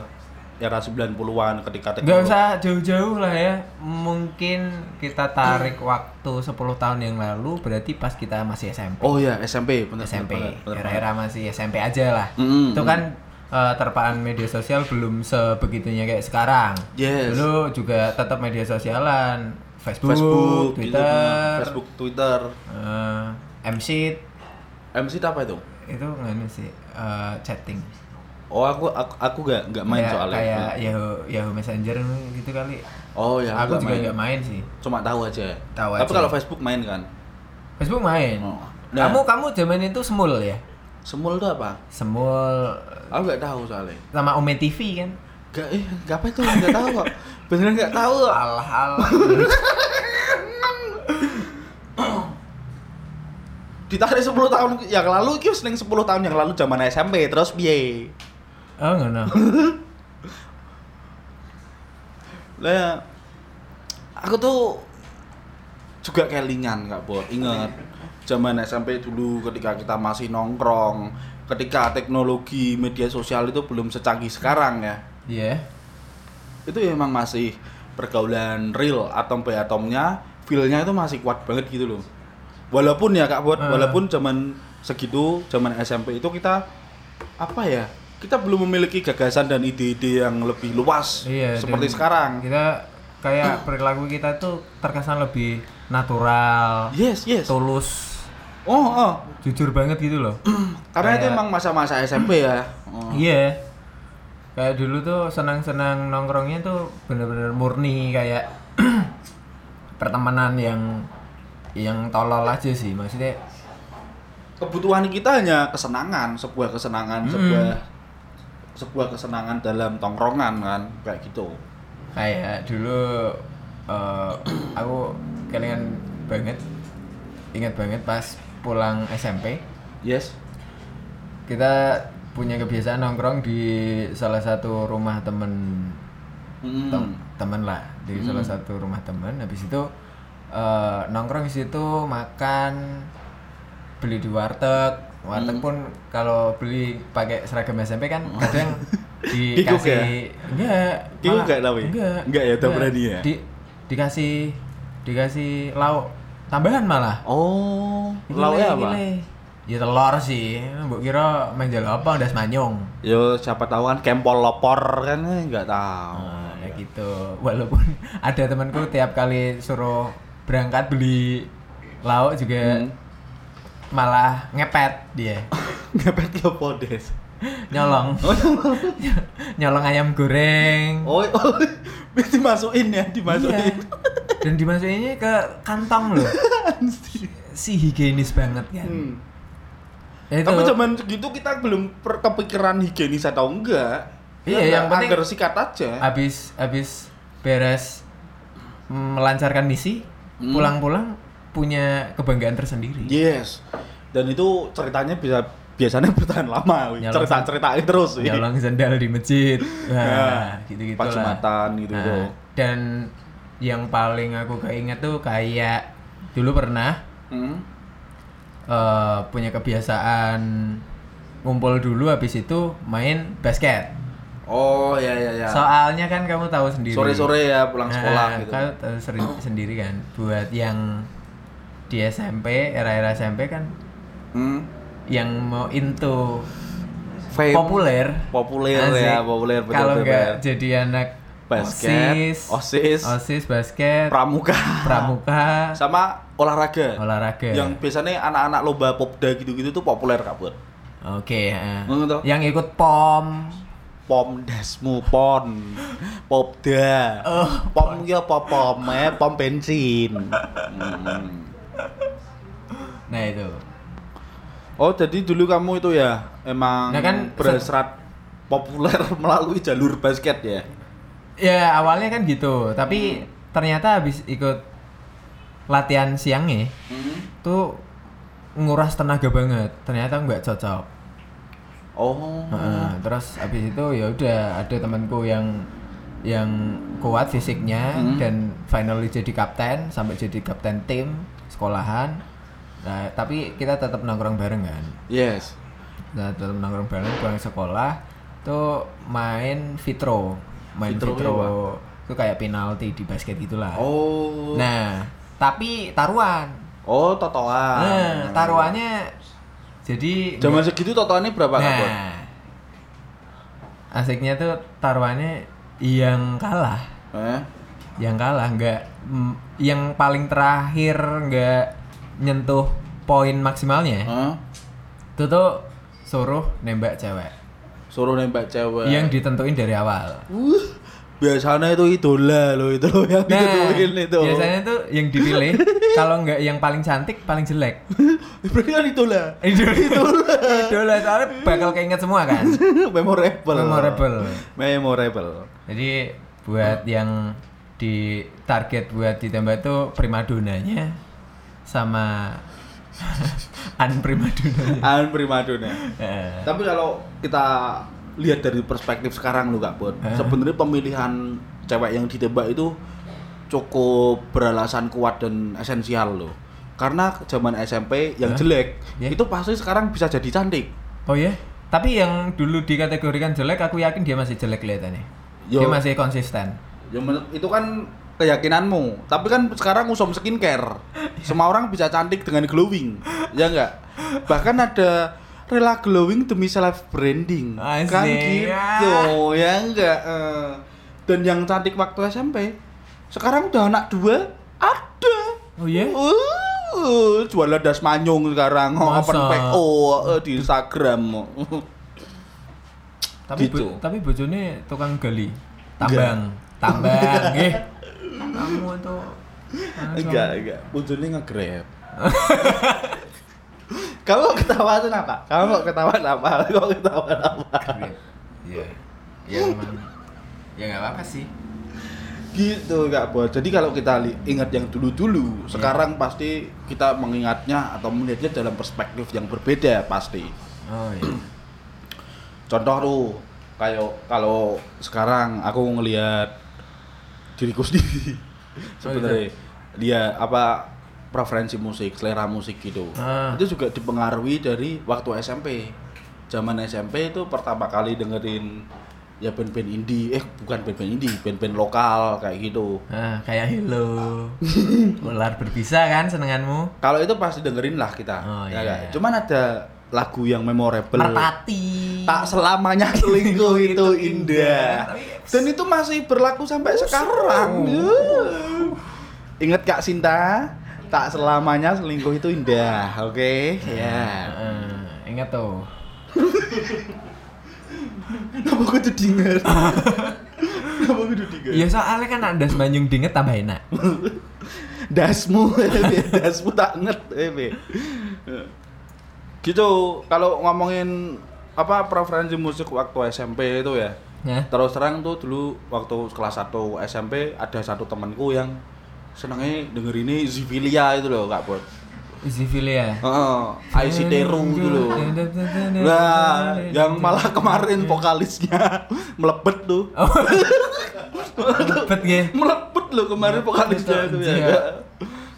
Speaker 2: era 90-an
Speaker 1: Nggak
Speaker 2: ketika teknologi-
Speaker 1: usah jauh-jauh lah ya. Mungkin kita tarik waktu 10 tahun yang lalu berarti pas kita masih SMP.
Speaker 2: Oh ya, SMP, bener
Speaker 1: SMP.
Speaker 2: bener, bener, bener.
Speaker 1: Era-era masih SMP aja lah.
Speaker 2: Mm,
Speaker 1: Itu
Speaker 2: mm.
Speaker 1: kan eh, terpaan media sosial belum sebegitunya kayak sekarang.
Speaker 2: Yes.
Speaker 1: Dulu juga tetap media sosialan, Facebook,
Speaker 2: Facebook, gitu,
Speaker 1: Twitter,
Speaker 2: bener. Facebook, Twitter.
Speaker 1: eh, MC
Speaker 2: MC itu apa itu?
Speaker 1: itu nganu sih eh, chatting.
Speaker 2: Oh, aku aku, aku gak, gak main
Speaker 1: kayak,
Speaker 2: soalnya.
Speaker 1: kayak Yahoo, Yahoo Messenger gitu kali.
Speaker 2: Oh ya,
Speaker 1: aku
Speaker 2: nggak
Speaker 1: juga nggak main sih.
Speaker 2: Cuma tahu aja.
Speaker 1: Tahu
Speaker 2: Tapi
Speaker 1: aja.
Speaker 2: kalau Facebook main kan.
Speaker 1: Facebook main.
Speaker 2: Oh. Nah.
Speaker 1: Kamu kamu zaman itu semul ya?
Speaker 2: Semul itu apa?
Speaker 1: Semul
Speaker 2: Aku gak tahu soalnya.
Speaker 1: sama Ome TV kan?
Speaker 2: Gak, eh, gak apa itu, gak tahu kok. Beneran gak tahu.
Speaker 1: Alah alah.
Speaker 2: Ditarik 10 tahun yang lalu, itu seneng 10 tahun yang lalu zaman SMP, terus piye.
Speaker 1: Oh ngono.
Speaker 2: Lah, aku tuh juga kelingan kak Bor, inget. Zaman SMP dulu ketika kita masih nongkrong, ketika teknologi media sosial itu belum secanggih sekarang ya.
Speaker 1: Iya.
Speaker 2: Itu emang masih pergaulan real, atom by atomnya, feel-nya itu masih kuat banget gitu loh. Walaupun ya Kak Bot,
Speaker 1: Eh.
Speaker 2: walaupun zaman segitu, zaman SMP itu kita apa ya? Kita belum memiliki gagasan dan ide-ide yang lebih luas
Speaker 1: Iya.
Speaker 2: seperti
Speaker 1: dan
Speaker 2: sekarang.
Speaker 1: Kita kayak perilaku kita itu terkesan lebih natural,
Speaker 2: Yes, yes. Oh,
Speaker 1: tulus,
Speaker 2: oh.
Speaker 1: jujur banget gitu loh.
Speaker 2: Karena itu
Speaker 1: Kayak-
Speaker 2: emang masa-masa SMP ya. Oh.
Speaker 1: Iya. Kayak dulu tuh senang-senang nongkrongnya tuh bener-bener murni kayak pertemanan yang yang tolol aja sih maksudnya.
Speaker 2: Kebutuhan kita hanya kesenangan, sebuah kesenangan, sebuah sebuah kesenangan dalam tongkrongan kan, kayak gitu.
Speaker 1: Kayak dulu eh, aku kalian banget ingat banget pas pulang SMP
Speaker 2: Yes.
Speaker 1: kita punya kebiasaan nongkrong di salah satu rumah temen
Speaker 2: Hmm.
Speaker 1: tem- temen lah di salah satu rumah temen habis itu eh, nongkrong di situ makan beli di warteg warteg pun kalau beli pakai seragam SMP kan kadang
Speaker 2: Kikuk ya?
Speaker 1: dikasih enggak
Speaker 2: Kikuk
Speaker 1: malah-
Speaker 2: enggak tapi?
Speaker 1: enggak
Speaker 2: Enggak ya, tak berani ya?
Speaker 1: Di- dikasih dikasih lauk tambahan malah
Speaker 2: Oh,
Speaker 1: Iki
Speaker 2: lauknya
Speaker 1: le,
Speaker 2: apa?
Speaker 1: iki le. ya telur sih mbok kira main jalo apa das manyong
Speaker 2: Yo, siapa tahu kan kempol lopor kan eh, nggak tahu.
Speaker 1: Nah, kayak
Speaker 2: iya.
Speaker 1: gitu. Walaupun ada temanku tiap kali suruh berangkat beli lauk juga
Speaker 2: Hmm.
Speaker 1: malah ngepet dia.
Speaker 2: Ngepet lopo des.
Speaker 1: Nyolong. Nyolong ayam goreng.
Speaker 2: Oh, oh, dimasukin ya, dimasukin.
Speaker 1: Iya. Dan dimasukinnya ke kantong loh. si higienis banget kan.
Speaker 2: Hmm.
Speaker 1: Ya Itu.
Speaker 2: Tapi zaman segitu kita belum per- kepikiran higienis atau enggak.
Speaker 1: Iya, yang penting-
Speaker 2: agar sikat aja.
Speaker 1: habis habis beres melancarkan misi,
Speaker 2: Hmm. Iya,
Speaker 1: pulang-pulang punya kebanggaan tersendiri.
Speaker 2: Yes. Dan itu ceritanya bisa biasanya bertahan lama.
Speaker 1: Nyolong-
Speaker 2: Cerita ceritain terus. wih.
Speaker 1: nyolong sendal di masjid
Speaker 2: Nah,
Speaker 1: nah, gitu gitu
Speaker 2: Pas Jumatan gitu.
Speaker 1: dan yang paling aku keinget tuh kayak dulu pernah
Speaker 2: Hmm.
Speaker 1: eh, punya kebiasaan ngumpul dulu habis itu main basket
Speaker 2: Oh ya ya ya.
Speaker 1: soalnya kan kamu tahu sendiri
Speaker 2: Sore-sore ya pulang sekolah
Speaker 1: Nah,
Speaker 2: gitu.
Speaker 1: kamu tahu seri- sendiri kan buat yang di SMP era-era SMP kan
Speaker 2: Hmm.
Speaker 1: yang mau into
Speaker 2: Fame.
Speaker 1: populer
Speaker 2: Populer ya, populer, betul,
Speaker 1: kalau
Speaker 2: betul,
Speaker 1: nggak
Speaker 2: betul.
Speaker 1: jadi anak
Speaker 2: Basket,
Speaker 1: osis
Speaker 2: OSIS,
Speaker 1: osis basket
Speaker 2: pramuka,
Speaker 1: pramuka
Speaker 2: sama olahraga.
Speaker 1: olahraga
Speaker 2: Yang biasanya anak-anak lomba popda gitu-gitu tuh populer kabut.
Speaker 1: oke ya.
Speaker 2: Ngono toh?
Speaker 1: yang ikut pom
Speaker 2: Pom desmu pon, popda, pom ya pom pom eh, pom bensin. Hmm.
Speaker 1: nah itu
Speaker 2: Oh jadi dulu kamu itu ya emang
Speaker 1: Nah, kan-
Speaker 2: berserat populer melalui jalur basket ya?
Speaker 1: ya awalnya kan gitu tapi ternyata habis ikut latihan siangnya tuh nguras tenaga banget ternyata nggak cocok
Speaker 2: Oh,
Speaker 1: Heeh, terus habis itu ya udah ada temanku yang yang kuat fisiknya dan finally jadi kapten sampai jadi kapten tim sekolahan nah tapi kita tetap nongkrong bareng kan
Speaker 2: yes.
Speaker 1: Nah, dalam nongkrong bareng pulang sekolah tuh main fitro, main
Speaker 2: Vitro
Speaker 1: fitro,
Speaker 2: ya,
Speaker 1: itu kayak penalti di basket gitulah.
Speaker 2: Oh,
Speaker 1: Nah, tapi taruhan.
Speaker 2: oh totoan.
Speaker 1: Nah, taruhannya jadi
Speaker 2: Zaman segitu totoannya berapa kabut?
Speaker 1: Nah, asiknya tuh taruhannya yang kalah,
Speaker 2: Eh?
Speaker 1: yang kalah nggak, mm, yang paling terakhir nggak nyentuh poin maksimalnya.
Speaker 2: Hah?
Speaker 1: Itu tuh suruh nembak cewek.
Speaker 2: Suruh nembak cewek.
Speaker 1: yang ditentuin dari awal.
Speaker 2: Wuh, Uh, biasanya itu idola loh itu loh yang ditentuin itu.
Speaker 1: Nah, biasanya tuh yang dipilih kalau nggak yang paling cantik paling jelek.
Speaker 2: Berarti kan idola.
Speaker 1: Itu itu idola soalnya bakal keinget semua kan.
Speaker 2: Memorable.
Speaker 1: Memorable.
Speaker 2: Memorable.
Speaker 1: Jadi buat yang di target buat ditembak tuh primadonanya sama unprimadonanya.
Speaker 2: An primadona.
Speaker 1: Eh,
Speaker 2: Tapi kalau kita lihat dari perspektif sekarang loh Kak Bud.
Speaker 1: Eh.
Speaker 2: Sebenarnya pemilihan cewek yang ditembak itu cukup beralasan kuat dan esensial loh. Karena zaman SMP yang
Speaker 1: Hah?
Speaker 2: jelek
Speaker 1: Ya.
Speaker 2: itu pasti sekarang bisa jadi cantik.
Speaker 1: Oh ya, tapi yang dulu dikategorikan jelek aku yakin dia masih jelek kelihatannya.
Speaker 2: Yo.
Speaker 1: Dia masih konsisten.
Speaker 2: Ya men- itu kan keyakinanmu. Tapi kan sekarang usum skincare. Semua orang bisa cantik dengan glowing. Ya enggak? Bahkan ada rela glowing demi self branding. Kan
Speaker 1: Asik.
Speaker 2: gitu. Ya enggak? Eh, Dan yang cantik waktu SMP Sekarang udah anak dua, ada.
Speaker 1: Oh
Speaker 2: ya?
Speaker 1: iya?
Speaker 2: Uh, jualan das manyung sekarang, Oh,
Speaker 1: Masa?
Speaker 2: open PO eh, di Instagram.
Speaker 1: Tapi
Speaker 2: Gitu.
Speaker 1: bo- tapi bojone tukang gali. Tambang, tambang. Eh. Kamu tuh langsung.
Speaker 2: enggak, enggak. Bojone nge-grab. Kamu ketawa tuh apa? Kamu ketawa apa? Kamu ketawa apa?
Speaker 1: Iya. Ya emang. Ya enggak apa-apa sih.
Speaker 2: Gitu Kak Bos. Jadi kalau kita li- ingat yang dulu-dulu, sekarang pasti kita mengingatnya atau melihatnya dalam perspektif yang berbeda pasti.
Speaker 1: Oh iya.
Speaker 2: Contoh tuh kayak kalau sekarang aku ngelihat diriku sendiri
Speaker 1: Oh, iya.
Speaker 2: sebenarnya dia apa preferensi musik, selera musik gitu.
Speaker 1: Ah.
Speaker 2: Itu juga dipengaruhi dari waktu SMP. Zaman SMP itu pertama kali dengerin ya band-band indie, eh bukan band-band indie, band-band lokal kayak gitu.
Speaker 1: Nah, kayak hello. Ular berbisa kan senenganmu?
Speaker 2: Kalau itu pasti dengerin lah kita.
Speaker 1: Oh, iya,
Speaker 2: ya nggak?
Speaker 1: iya.
Speaker 2: Cuman ada lagu yang memorable.
Speaker 1: Merpati.
Speaker 2: Tak selamanya selingkuh itu
Speaker 1: Itu
Speaker 2: indah.
Speaker 1: indah.
Speaker 2: Dan itu masih berlaku sampai sekarang. Yeah. Ingat Kak Sinta, tak selamanya selingkuh itu indah. Oke, ya.
Speaker 1: Heeh, Ah, ingat tuh.
Speaker 2: Kenapa kudu dinger? Kenapa kudu dinger?
Speaker 1: Ya soalnya kan ada sebanjung dinget tambah enak.
Speaker 2: dasmu dasmu tak nget eh, Be. gitu kalau ngomongin apa preferensi musik waktu SMP itu ya
Speaker 1: Ya.
Speaker 2: terus terang tuh dulu waktu kelas 1 SMP ada satu temanku yang senengnya denger ini Zivilia itu loh kak Bot
Speaker 1: Zivilia.
Speaker 2: Heeh, IC Teru itu loh nah yang malah kemarin
Speaker 1: Iya.
Speaker 2: vokalisnya melepet tuh
Speaker 1: Lepet ya.
Speaker 2: melepet loh kemarin vokalisnya itu ya
Speaker 1: Iya.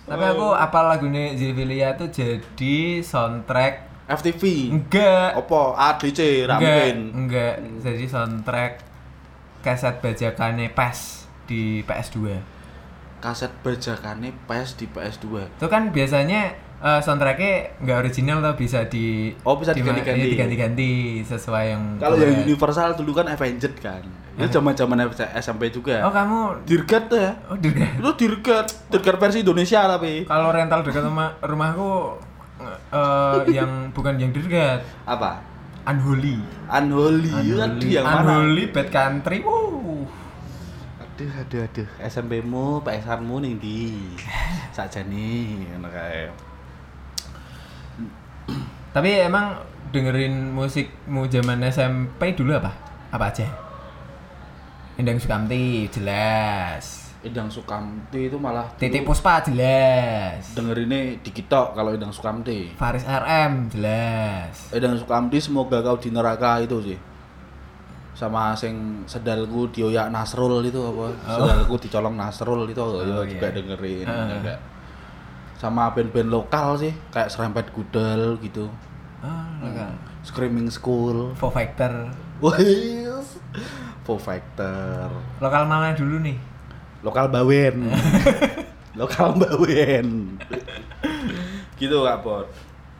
Speaker 1: Tapi aku
Speaker 2: Oh.
Speaker 1: apal lagunya Zivilia tuh jadi soundtrack
Speaker 2: FTV
Speaker 1: enggak
Speaker 2: Apa? ADC
Speaker 1: enggak
Speaker 2: Ramkin.
Speaker 1: enggak jadi soundtrack kaset bajakannya PES di PS2.
Speaker 2: Kaset bajakane PS di E PS2.
Speaker 1: Itu kan biasanya eh, soundtracknya nggak original tuh bisa di
Speaker 2: Oh, bisa
Speaker 1: dima-
Speaker 2: diganti-ganti.
Speaker 1: iya, diganti-ganti sesuai yang
Speaker 2: Kalau yang
Speaker 1: keluar.
Speaker 2: Universal dulu kan Avenged kan. Itu zaman-zaman SMP
Speaker 1: Iya. Oh
Speaker 2: juga.
Speaker 1: kamu
Speaker 2: Dirgat tuh ya.
Speaker 1: Oh duga.
Speaker 2: Itu Dirgat, Dirgat versi Indonesia tapi.
Speaker 1: Kalau rental dekat rumah rumahku eh, yang bukan yang dekat
Speaker 2: Apa?
Speaker 1: unholy.
Speaker 2: Unholy, tadi Iya, yang mana?
Speaker 1: unholy bad country. Wuh.
Speaker 2: Aduh, aduh, aduh. SMP-mu, PSR-mu ning ndi? Sakjane ngono kae.
Speaker 1: Tapi emang dengerin musikmu zaman SMP dulu apa? Apa aja? Endang Sukamti jelas.
Speaker 2: Idang Sukamti itu malah
Speaker 1: Titik Puspa jelas.
Speaker 2: dengerinnya di kitok kalau Idang Sukamti.
Speaker 1: Faris RM jelas.
Speaker 2: Edang Eh, Sukamti semoga kau di neraka itu sih sama sing sedalku dioyak Nasrul itu apa sedalku dicolong Nasrul itu ya juga
Speaker 1: iya.
Speaker 2: dengerin
Speaker 1: Ah.
Speaker 2: juga. sama band-band lokal sih kayak serempet gudel gitu
Speaker 1: Ah, enggak.
Speaker 2: screaming school
Speaker 1: Foo Fighter.
Speaker 2: Wes. Foo Fighter
Speaker 1: Lokal mana dulu nih?
Speaker 2: lokal bawen lokal bawen gitu kak Bor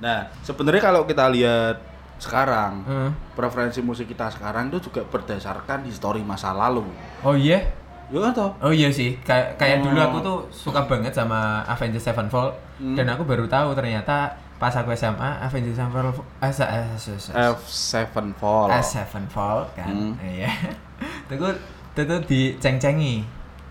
Speaker 2: nah sebenarnya kalau kita lihat sekarang
Speaker 1: Hmm.
Speaker 2: preferensi musik kita sekarang itu juga berdasarkan histori masa lalu.
Speaker 1: Oh iya.
Speaker 2: Ya kan toh?
Speaker 1: Oh iya sih, kayak kayak dulu
Speaker 2: Oh.
Speaker 1: aku tuh suka banget sama Avengers Sevenfold
Speaker 2: Hmm.
Speaker 1: dan aku baru tahu ternyata pas aku SMA Avengers Sevenfold eh, se- eh, se- se-
Speaker 2: F7 Fall.
Speaker 1: eh, Sevenfold kan.
Speaker 2: Hmm.
Speaker 1: Iya. Itu gua- itu tuh diceng-cengi.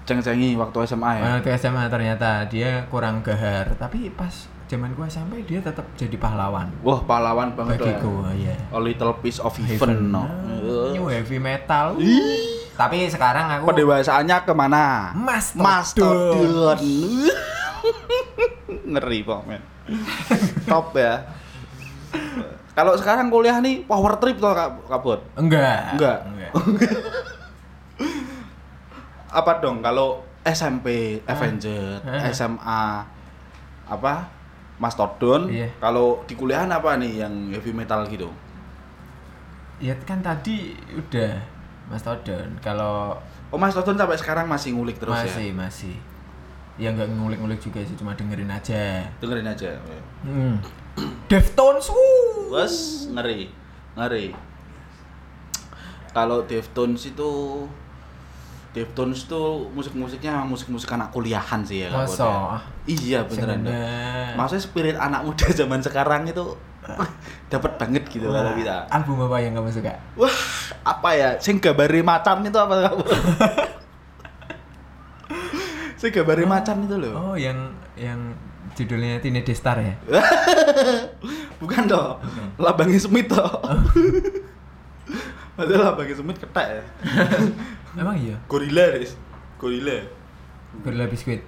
Speaker 2: Ceng-cengi waktu SMA ya.
Speaker 1: Waktu SMA ternyata dia kurang gahar, tapi pas zaman gua sampai dia tetap jadi pahlawan
Speaker 2: Wah, pahlawan banget
Speaker 1: bagi
Speaker 2: tuh.
Speaker 1: gua ya.
Speaker 2: A little piece of
Speaker 1: Heaven.
Speaker 2: heaven. no.
Speaker 1: Ah, New heavy metal.
Speaker 2: Ih.
Speaker 1: Tapi sekarang aku
Speaker 2: Pendewasaannya kemana?
Speaker 1: Mastodon.
Speaker 2: Mastodon. Ngeri pokoknya. Top ya. Kalau sekarang kuliah nih power trip toh Kak Kak Bot?
Speaker 1: enggak.
Speaker 2: Enggak. apa dong kalau SMP Avenger,
Speaker 1: Hah?
Speaker 2: SMA apa Mastodon,
Speaker 1: Iya.
Speaker 2: kalau di kuliahan apa nih yang heavy metal gitu?
Speaker 1: Ya kan tadi udah Mastodon. Kalau
Speaker 2: Oh Mastodon sampai sekarang masih ngulik terus
Speaker 1: masih
Speaker 2: ya?
Speaker 1: masih. Ya nggak ngulik-ngulik juga sih, cuma dengerin aja.
Speaker 2: Dengerin aja.
Speaker 1: Hmm. Deftones. wuh.
Speaker 2: Wes ngeri, ngeri. Kalau Deftones itu Deftones tuh musik-musiknya musik-musik anak kuliahan sih ya. Kak Bud,
Speaker 1: Masa?
Speaker 2: ya. Iya beneran. Kak. Maksudnya spirit anak muda zaman sekarang itu dapat banget gitu kalau kita.
Speaker 1: Album apa yang kamu suka?
Speaker 2: Wah, apa ya? Sing gambari macan itu apa kamu? Sing gambari macan itu loh.
Speaker 1: Oh, yang yang judulnya Tine Destar ya?
Speaker 2: Bukan toh. Labangi Smith toh. Padahal Labangi Smith ketek ya.
Speaker 1: Emang iya?
Speaker 2: Gorilla, Riz. Gorilla. Hmm.
Speaker 1: Gorilla Biscuit?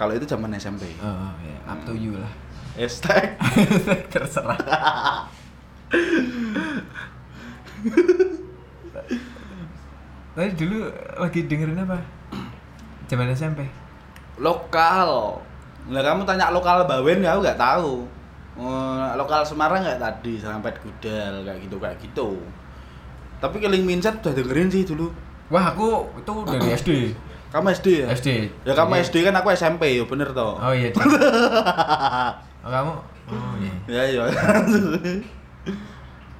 Speaker 2: Kalau itu zaman SMP.
Speaker 1: Oh, ya. Up to you lah.
Speaker 2: Estek.
Speaker 1: Terserah. Tadi dulu lagi dengerin apa? Zaman SMP.
Speaker 2: lokal. Nah, kamu tanya lokal Bawen ya, aku nggak tahu. Eh, lokal Semarang nggak tadi sampai Gudel kayak gitu kayak gitu. Tapi Killing Mindset udah dengerin sih dulu.
Speaker 1: Wah, aku itu dari SD.
Speaker 2: Kamu SD ya?
Speaker 1: SD.
Speaker 2: Ya kamu
Speaker 1: Jadi-
Speaker 2: SD kan aku SMP ya bener toh.
Speaker 1: Iya. Oh iya. Cik. oh, kamu? Oh iya.
Speaker 2: Ya iya.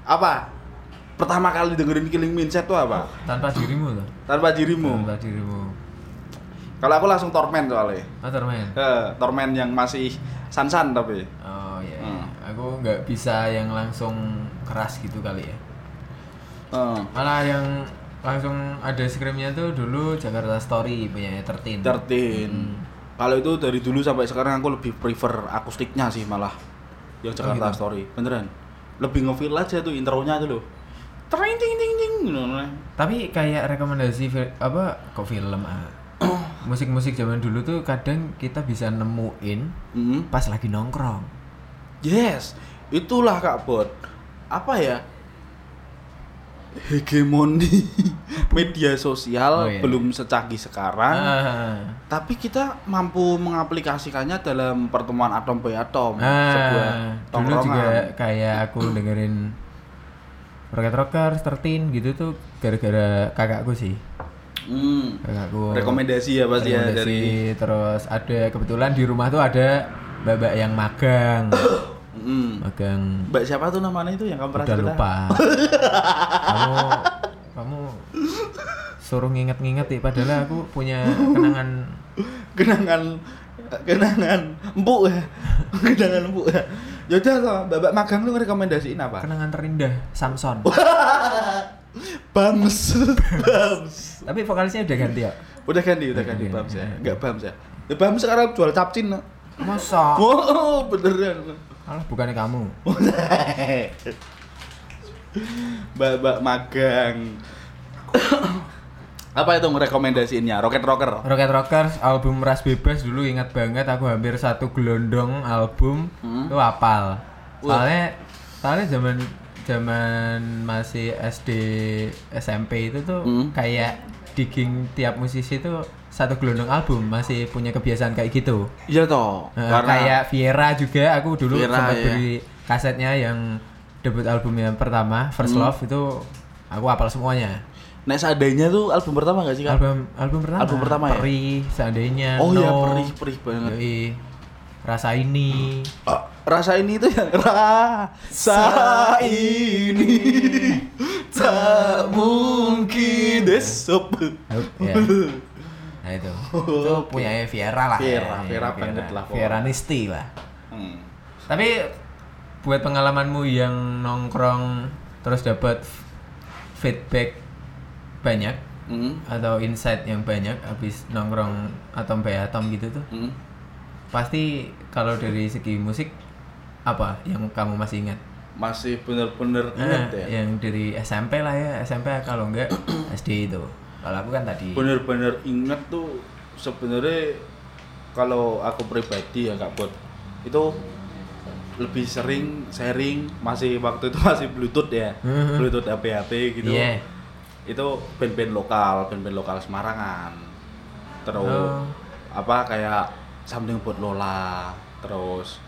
Speaker 2: apa? Pertama kali dengerin Killing Mindset tuh apa?
Speaker 1: Tanpa dirimu loh.
Speaker 2: Tanpa dirimu.
Speaker 1: Tanpa dirimu.
Speaker 2: Kalau aku langsung torment soalnya.
Speaker 1: Oh, Tormen.
Speaker 2: Eh, torment yang masih san-san tapi.
Speaker 1: Oh iya. iya.
Speaker 2: Hmm.
Speaker 1: Aku nggak bisa yang langsung keras gitu kali ya.
Speaker 2: Eh,
Speaker 1: Malah yang langsung ada screamnya tuh dulu Jakarta Story punya 13.
Speaker 2: 13.
Speaker 1: Hmm.
Speaker 2: Kalau itu dari dulu sampai sekarang aku lebih prefer akustiknya sih malah yang
Speaker 1: Oh, gitu.
Speaker 2: Jakarta Story. Beneran. Lebih ngefeel aja tuh intronya tuh loh. Tring ting ting ting gitu.
Speaker 1: Tapi kayak rekomendasi fil- apa kok film ah. Musik-musik zaman dulu tuh kadang kita bisa nemuin
Speaker 2: Mm.
Speaker 1: pas lagi nongkrong.
Speaker 2: Yes, itulah Kak Bot. Apa ya? Hegemoni media sosial
Speaker 1: Oh, iya.
Speaker 2: belum secanggih sekarang,
Speaker 1: Ah.
Speaker 2: tapi kita mampu mengaplikasikannya dalam pertemuan atom by atom,
Speaker 1: Ah,
Speaker 2: sebuah
Speaker 1: dulu
Speaker 2: tongkrongan.
Speaker 1: juga kayak aku dengerin Rocket Rocker, 13 gitu tuh gara-gara kakakku sih.
Speaker 2: Hmm.
Speaker 1: Kakakku.
Speaker 2: rekomendasi ya pasti ya
Speaker 1: Oh. rekomendasi.
Speaker 2: dari
Speaker 1: terus ada kebetulan di rumah tuh ada mbak-mbak yang magang.
Speaker 2: Mm.
Speaker 1: magang
Speaker 2: Mbak siapa tuh namanya itu yang kamu pernah
Speaker 1: udah
Speaker 2: cerita?
Speaker 1: lupa. kamu kamu suruh nginget-nginget ya padahal aku punya kenangan
Speaker 2: Kenangan kenangan empuk ya. kenangan empuk ya. Yaudah toh, Mbak Magang lu ngerekomendasiin apa?
Speaker 1: kenangan terindah Samson.
Speaker 2: Bams. Bams.
Speaker 1: Tapi vokalisnya udah ganti ya.
Speaker 2: Udah ganti, udah ganti Bams ya. Enggak Bams ya. Ya Bams sekarang jual capcin. no.
Speaker 1: Masa?
Speaker 2: Oh, beneran.
Speaker 1: Alah, bukannya kamu.
Speaker 2: Mbak Mbak Magang. apa itu ngerekomendasiinnya? Rocket Rocker.
Speaker 1: Rocket Rockers album Ras Bebas dulu ingat banget aku hampir satu gelondong album
Speaker 2: Hmm.
Speaker 1: itu hafal. Soalnya soalnya zaman zaman masih SD SMP itu tuh
Speaker 2: Hmm.
Speaker 1: kayak digging tiap musisi itu satu gelondong album masih punya kebiasaan kayak gitu.
Speaker 2: Iya toh.
Speaker 1: Eh, Kayak Viera juga aku dulu
Speaker 2: Viera,
Speaker 1: sempat
Speaker 2: iya.
Speaker 1: beli kasetnya yang debut album yang pertama First
Speaker 2: Hmm.
Speaker 1: Love itu aku hafal semuanya.
Speaker 2: Nek seadanya tuh album pertama gak sih kak?
Speaker 1: album album pertama
Speaker 2: Album pertama ya?
Speaker 1: perih seandainya
Speaker 2: Oh iya,
Speaker 1: No.
Speaker 2: Perih, Perih banget.
Speaker 1: Yoi. rasa ini
Speaker 2: Ah, rasa ini tuh yang rasa ini tak mungkin desop.
Speaker 1: Hup, ya. nah itu itu
Speaker 2: Oke.
Speaker 1: punya Viera lah ya.
Speaker 2: Viera, Viera banget lah pokoknya.
Speaker 1: Viera Nisti lah
Speaker 2: Hmm.
Speaker 1: tapi buat pengalamanmu yang nongkrong terus dapat feedback banyak
Speaker 2: Hmm.
Speaker 1: atau insight yang banyak habis nongkrong atom by atom gitu tuh
Speaker 2: Hmm.
Speaker 1: pasti kalau dari segi musik apa yang kamu masih ingat
Speaker 2: Masih bener-bener inget
Speaker 1: Nah,
Speaker 2: ya.
Speaker 1: yang dari SMP lah ya SMP kalau enggak SD itu kalau aku kan tadi
Speaker 2: Bener-bener inget tuh sebenarnya kalau aku pribadi ya kak Bot itu lebih sering sharing masih waktu itu masih bluetooth ya
Speaker 1: Mhm.
Speaker 2: bluetooth HP HP gitu
Speaker 1: Iya.
Speaker 2: itu band-band lokal, band-band lokal Semarangan. Terus
Speaker 1: Oh.
Speaker 2: apa kayak something buat Lola, terus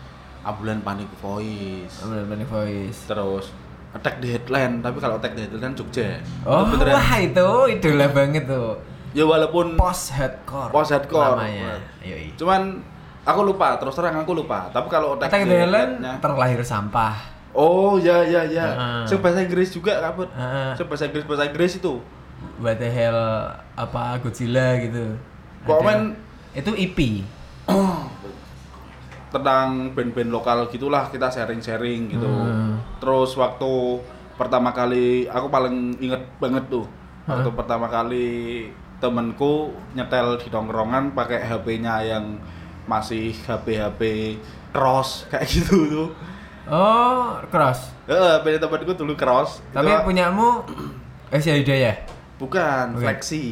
Speaker 2: ambulan panic voice,
Speaker 1: bener-bener voice
Speaker 2: terus attack the headline, tapi kalau attack the headline Jogja.
Speaker 1: oh
Speaker 2: Itu beneran.
Speaker 1: wah itu idola banget tuh
Speaker 2: Ya walaupun
Speaker 1: post hardcore
Speaker 2: post hardcore.
Speaker 1: namanya yoi
Speaker 2: Cuman aku lupa, terus terang aku lupa. Tapi kalau attack,
Speaker 1: Attack
Speaker 2: the
Speaker 1: the Island
Speaker 2: headline-nya-
Speaker 1: terlahir sampah
Speaker 2: Oh ya ya ya.
Speaker 1: Heeh.
Speaker 2: Saya bahasa Inggris juga kabut.
Speaker 1: Heeh.
Speaker 2: Saya bahasa Inggris bahasa Inggris itu.
Speaker 1: What the hell apa Godzilla gitu.
Speaker 2: Kok
Speaker 1: Ada-
Speaker 2: men?
Speaker 1: Itu EP.
Speaker 2: tentang band-band lokal gitulah kita sharing-sharing gitu.
Speaker 1: Hmm.
Speaker 2: Terus waktu pertama kali aku paling inget banget tuh
Speaker 1: Hmm.
Speaker 2: waktu pertama kali temenku nyetel di tongkrongan pakai HP-nya yang masih HP HP cross kayak gitu tuh.
Speaker 1: Oh, Cross.
Speaker 2: Heeh, band temanku dulu cross.
Speaker 1: Tapi eh,
Speaker 2: Itu-
Speaker 1: punyamu Asia Hidayah.
Speaker 2: bukan
Speaker 1: Oke.
Speaker 2: flexi.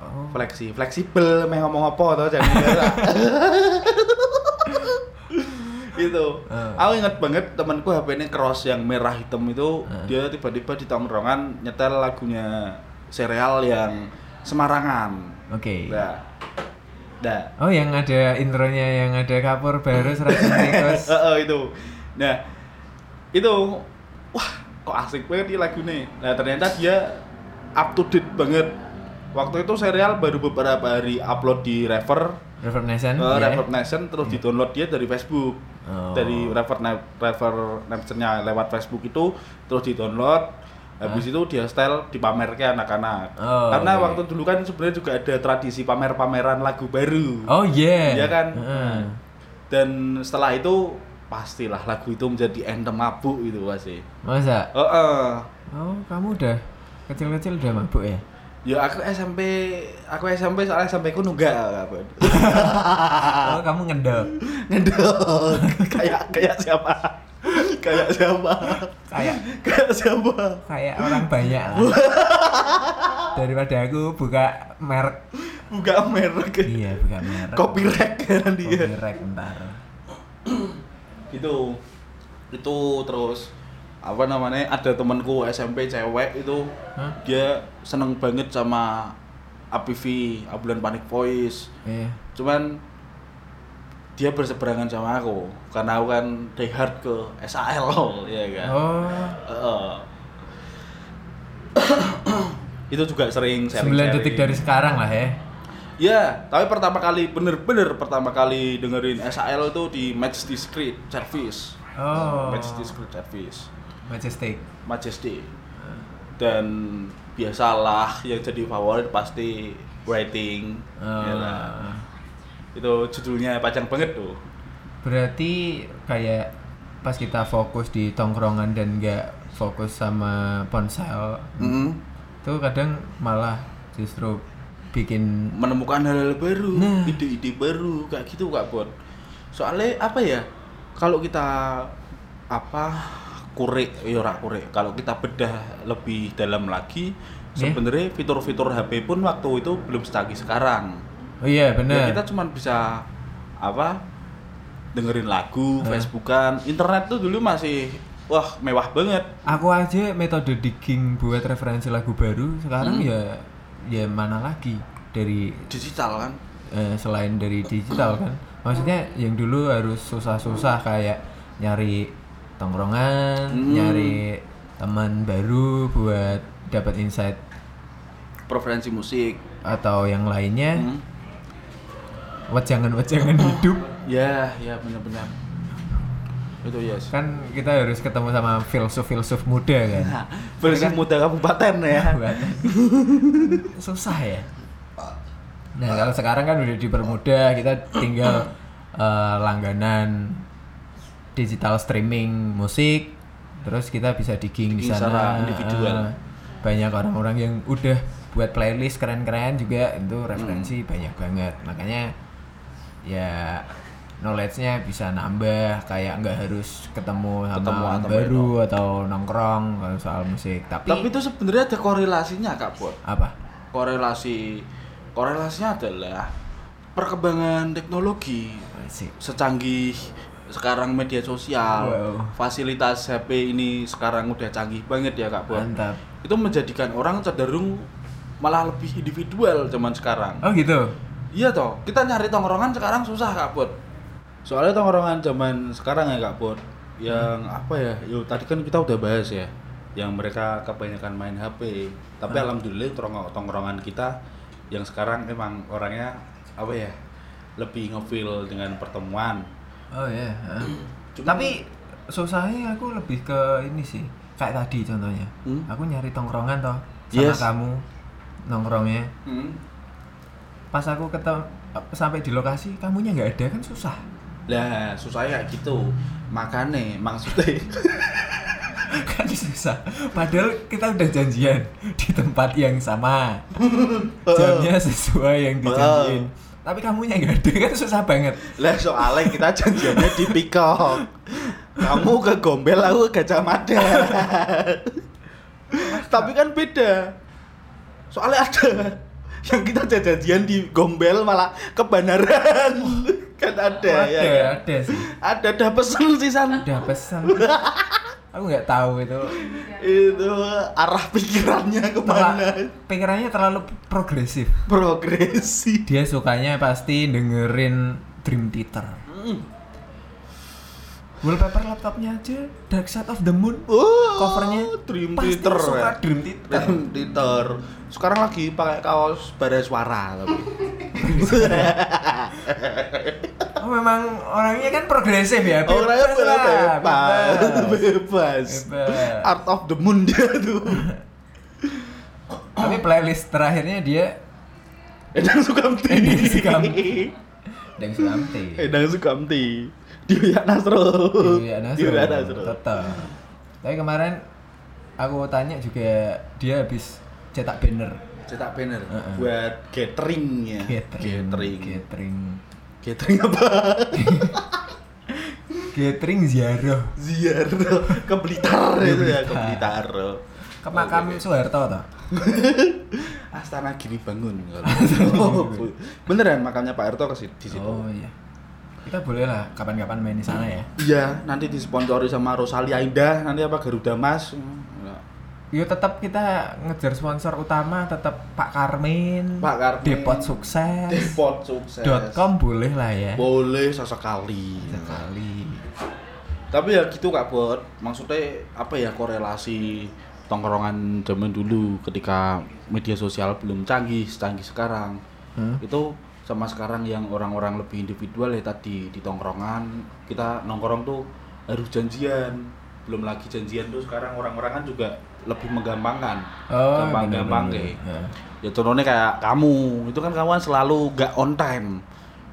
Speaker 1: Oh.
Speaker 2: Fleksi, fleksibel, meh ngomong apa tau jadi gitu.
Speaker 1: Eh.
Speaker 2: Aku inget banget temanku HP-nya cross yang merah hitam itu dia tiba-tiba di tongkrongan nyetel lagunya serial yang Semarangan.
Speaker 1: Oke.
Speaker 2: Nah, nah,
Speaker 1: Oh, yang ada intronya yang ada kapur baru serasa tikus.
Speaker 2: Eh, eh, itu. Nah, itu wah kok asik banget nih lagu nih. Nah ternyata dia up to date banget. Waktu itu serial baru beberapa hari upload di Rever,
Speaker 1: River Nation.
Speaker 2: eh,
Speaker 1: ya.
Speaker 2: Reverb Nation, terus di download dia dari Facebook.
Speaker 1: Oh.
Speaker 2: Dari Rever Rever Nation-nya lewat Facebook itu terus di download. Habis itu dia style dipamerkan anak-anak.
Speaker 1: Oh,
Speaker 2: Karena
Speaker 1: oke.
Speaker 2: waktu dulu kan sebenarnya juga ada tradisi pamer-pameran lagu baru.
Speaker 1: Oh yeah.
Speaker 2: Iya kan?
Speaker 1: Heeh.
Speaker 2: Dan setelah itu pastilah lagu itu menjadi anthem mabuk gitu pasti.
Speaker 1: Masa?
Speaker 2: Oh, eh.
Speaker 1: Oh, kamu udah kecil-kecil udah mabuk ya?
Speaker 2: ya aku SMP, aku SMP soalnya SMP ku nunggak apa.
Speaker 1: Oh,
Speaker 2: Ah.
Speaker 1: kamu ngendok.
Speaker 2: Ngedok. kayak kayak siapa? kayak siapa?
Speaker 1: Kayak
Speaker 2: kayak siapa?
Speaker 1: kayak orang banyak lah. Daripada aku buka merek.
Speaker 2: Buka merek.
Speaker 1: Iya, buka merek.
Speaker 2: Kopi rek kan dia.
Speaker 1: Copyright ntar.
Speaker 2: gitu itu terus apa namanya ada temanku SMP cewek itu
Speaker 1: Hah?
Speaker 2: dia seneng banget sama APV Abulan Panic Voice
Speaker 1: Iya.
Speaker 2: cuman dia berseberangan sama aku karena aku kan die hard ke SAL ya kan
Speaker 1: Oh,
Speaker 2: Heeh. itu juga sering sharing
Speaker 1: 9 detik dari sekarang lah ya.
Speaker 2: Ya, tapi pertama kali bener-bener pertama kali dengerin SAL itu di Match Discreet Service.
Speaker 1: Oh.
Speaker 2: Match Discreet Service.
Speaker 1: Majestic.
Speaker 2: Majesty. Dan biasalah yang jadi favorit pasti Writing.
Speaker 1: Oh.
Speaker 2: Ya lah. Itu judulnya panjang banget tuh.
Speaker 1: Berarti kayak pas kita fokus di tongkrongan dan nggak fokus sama ponsel,
Speaker 2: Hmm.
Speaker 1: tuh kadang malah justru bikin
Speaker 2: Menemukan hal-hal baru,
Speaker 1: Nah.
Speaker 2: ide-ide baru kayak gitu Kak Bot. Soalnya apa ya? Kalau kita apa kurik ya ora kurik. Kalau kita bedah lebih dalam lagi
Speaker 1: Yeah.
Speaker 2: sebenarnya fitur-fitur HP pun waktu itu belum secanggih sekarang.
Speaker 1: Oh iya
Speaker 2: Ya,
Speaker 1: benar.
Speaker 2: kita cuman bisa apa dengerin lagu, Facebookan, internet tuh dulu masih wah mewah banget.
Speaker 1: Aku aja metode digging buat referensi lagu baru sekarang
Speaker 2: Hmm.
Speaker 1: ya ya mana lagi dari
Speaker 2: Digital kan.
Speaker 1: eh, selain dari digital kan. Maksudnya yang dulu harus susah-susah kayak nyari tongkrongan,
Speaker 2: Hmm.
Speaker 1: nyari teman baru buat dapat insight
Speaker 2: Preferensi musik.
Speaker 1: atau yang lainnya.
Speaker 2: Hmm.
Speaker 1: Wejangan-wejangan hidup
Speaker 2: Ya, ya benar-benar. Itu yes.
Speaker 1: kan kita harus ketemu sama filsuf-filsuf muda kan.
Speaker 2: Nah, versi muda kabupaten ya.
Speaker 1: buat susah ya nah kalau sekarang kan udah dipermudah kita tinggal eh, langganan digital streaming musik terus kita bisa digging di
Speaker 2: Digging secara
Speaker 1: sana
Speaker 2: individual.
Speaker 1: Eh, banyak orang-orang yang udah buat playlist keren-keren juga itu referensi
Speaker 2: Hmm.
Speaker 1: banyak banget makanya ya knowledge-nya bisa nambah kayak nggak harus ketemu sama
Speaker 2: Ketemu
Speaker 1: orang
Speaker 2: atau
Speaker 1: baru atau nongkrong kalau soal musik
Speaker 2: Tapi itu sebenarnya ada korelasinya Kak Bot.
Speaker 1: apa
Speaker 2: Korelasi korelasinya adalah perkembangan teknologi.
Speaker 1: sih
Speaker 2: secanggih sekarang media sosial
Speaker 1: Wow.
Speaker 2: fasilitas HP ini sekarang udah canggih banget ya kak Bon
Speaker 1: mantap
Speaker 2: itu menjadikan orang cenderung malah lebih individual zaman sekarang
Speaker 1: oh gitu
Speaker 2: iya toh kita nyari tongkrongan sekarang susah kak Bon soalnya tongkrongan zaman sekarang ya kak Bon yang apa ya yuk tadi kan kita udah bahas ya yang mereka kebanyakan main HP tapi alhamdulillah tongkrong- tongkrongan kita yang sekarang emang orangnya apa ya lebih ngefeel dengan pertemuan
Speaker 1: oh ya tapi susahnya aku lebih ke ini sih kayak tadi contohnya
Speaker 2: Hmm?
Speaker 1: aku nyari tongkrongan toh sama
Speaker 2: Yes.
Speaker 1: kamu nongkrongnya
Speaker 2: Hmm.
Speaker 1: pas aku ketemu sampai di lokasi kamunya nggak ada kan susah
Speaker 2: Lah, susahnya kayak gitu. Makane maksudnya
Speaker 1: kan susah padahal kita udah janjian di tempat yang sama jamnya sesuai yang dijanjiin tapi kamunya nggak ada kan susah banget
Speaker 2: Lah soalnya kita janjiannya di Peacock. Kamu ke Gombel, aku ke Gajah Mada. Tapi kan beda. Soalnya ada yang kita janjian di Gombel malah ke Banaran. kan ada, ya.
Speaker 1: ada
Speaker 2: kan?
Speaker 1: ada sih
Speaker 2: Ada ada pesen sih San.
Speaker 1: udah pesan aku nggak tahu itu
Speaker 2: Itu arah pikirannya
Speaker 1: Terla-
Speaker 2: kemana?
Speaker 1: pikirannya terlalu progresif
Speaker 2: Progresi.
Speaker 1: dia sukanya pasti dengerin Dream Theater wallpaper laptopnya aja Dark Side of the Moon
Speaker 2: Oh,
Speaker 1: covernya
Speaker 2: Dream
Speaker 1: pasti
Speaker 2: Theater.
Speaker 1: suka
Speaker 2: ya.
Speaker 1: Dream Theater
Speaker 2: Dan Twitter. Sekarang lagi pakai kaos barai suara tapi.
Speaker 1: Oh, memang orangnya kan progresif ya. Bebas
Speaker 2: Orangnya
Speaker 1: lah,
Speaker 2: bebas, bebas.
Speaker 1: bebas.
Speaker 2: bebas.
Speaker 1: Bebas.
Speaker 2: Art of the Moon dia tuh.
Speaker 1: Tapi playlist terakhirnya dia
Speaker 2: Edang Sukamti.
Speaker 1: Endang Sukamti. Deng Sulamti.
Speaker 2: Edang Sukamti. Diwiak Nasrul.
Speaker 1: Iya,
Speaker 2: Diwiak
Speaker 1: Nasrul. Tetap. Tapi kemarin aku tanya juga dia habis cetak banner
Speaker 2: Cetak banner
Speaker 1: Heeh.
Speaker 2: buat gathering ya.
Speaker 1: gathering
Speaker 2: Gathering.
Speaker 1: gathering
Speaker 2: Gathering apa?
Speaker 1: gathering ziarah
Speaker 2: Ziarah ke Blitar itu ya, ke
Speaker 1: Blitar.
Speaker 2: Blitar. Oh, iya.
Speaker 1: ke makam Soeharto toh.
Speaker 2: Astana Giri Bangun. kalau- Oh, beneran makamnya Pak Erto ke situ- di situ.
Speaker 1: Oh iya. Kita boleh lah kapan-kapan main di sana ya.
Speaker 2: Iya, nanti disponsori sama Rosalia Indah, nanti apa Garuda Mas.
Speaker 1: Hmm. Yo tetap kita ngejar sponsor utama tetap Pak Karmin,
Speaker 2: Pak Karmin.
Speaker 1: Depot Sukses,
Speaker 2: Depot sukses.
Speaker 1: dot com boleh lah ya.
Speaker 2: Boleh sesekali.
Speaker 1: Sekali.
Speaker 2: Tapi ya gitu Kak Bot. Maksudnya apa ya korelasi tongkrongan zaman dulu ketika media sosial belum canggih, canggih sekarang.
Speaker 1: Hmm.
Speaker 2: Itu sama sekarang yang orang-orang lebih individual ya tadi di tongkrongan kita nongkrong tuh harus janjian. Belum lagi janjian tuh sekarang orang-orang kan juga lebih menggampangkan.
Speaker 1: Oh,
Speaker 2: Gampang-gampang
Speaker 1: bener-bener.
Speaker 2: deh. ya contohnya kayak kamu itu kan kawan selalu gak on time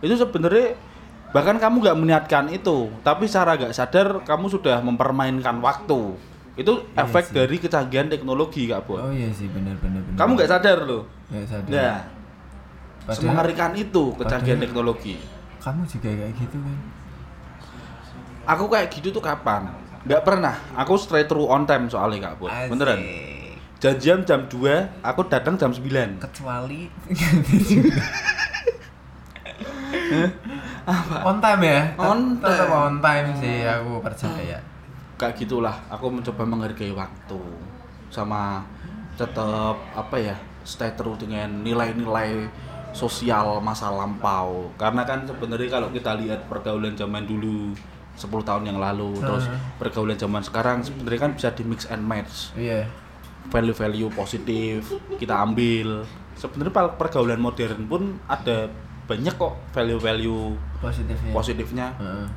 Speaker 2: itu sebenarnya bahkan kamu gak meniatkan itu tapi secara gak sadar kamu sudah mempermainkan waktu itu
Speaker 1: Iya sih.
Speaker 2: efek dari kecanggihan teknologi
Speaker 1: Ya.
Speaker 2: kak Bo
Speaker 1: Oh iya sih benar-benar. benar.
Speaker 2: kamu gak sadar loh
Speaker 1: Nggak sadar.
Speaker 2: nah
Speaker 1: Padahal-
Speaker 2: semengerikan itu kecanggihan
Speaker 1: padahal-
Speaker 2: teknologi
Speaker 1: Kamu juga kayak gitu kan.
Speaker 2: aku kayak gitu tuh kapan Gak pernah aku straight through on time soalnya kak Bo
Speaker 1: Asik.
Speaker 2: beneran janjian jam 2 aku datang jam 9
Speaker 1: Kecuali
Speaker 2: apa
Speaker 1: on time ya. Tet-
Speaker 2: On
Speaker 1: tetap
Speaker 2: time.
Speaker 1: on time sih aku percaya.
Speaker 2: kayak gitulah aku mencoba menghargai waktu sama tetap apa ya stay true dengan nilai-nilai sosial masa lampau karena kan sebenarnya kalau kita lihat pergaulan zaman dulu 10 tahun yang lalu terus
Speaker 1: Hmm.
Speaker 2: pergaulan zaman sekarang sebenarnya kan bisa di mix and match
Speaker 1: Iya.
Speaker 2: value-value positif kita ambil sebenarnya per- pergaulan modern pun ada banyak kok value-value
Speaker 1: Positif ya.
Speaker 2: positifnya
Speaker 1: Heeh.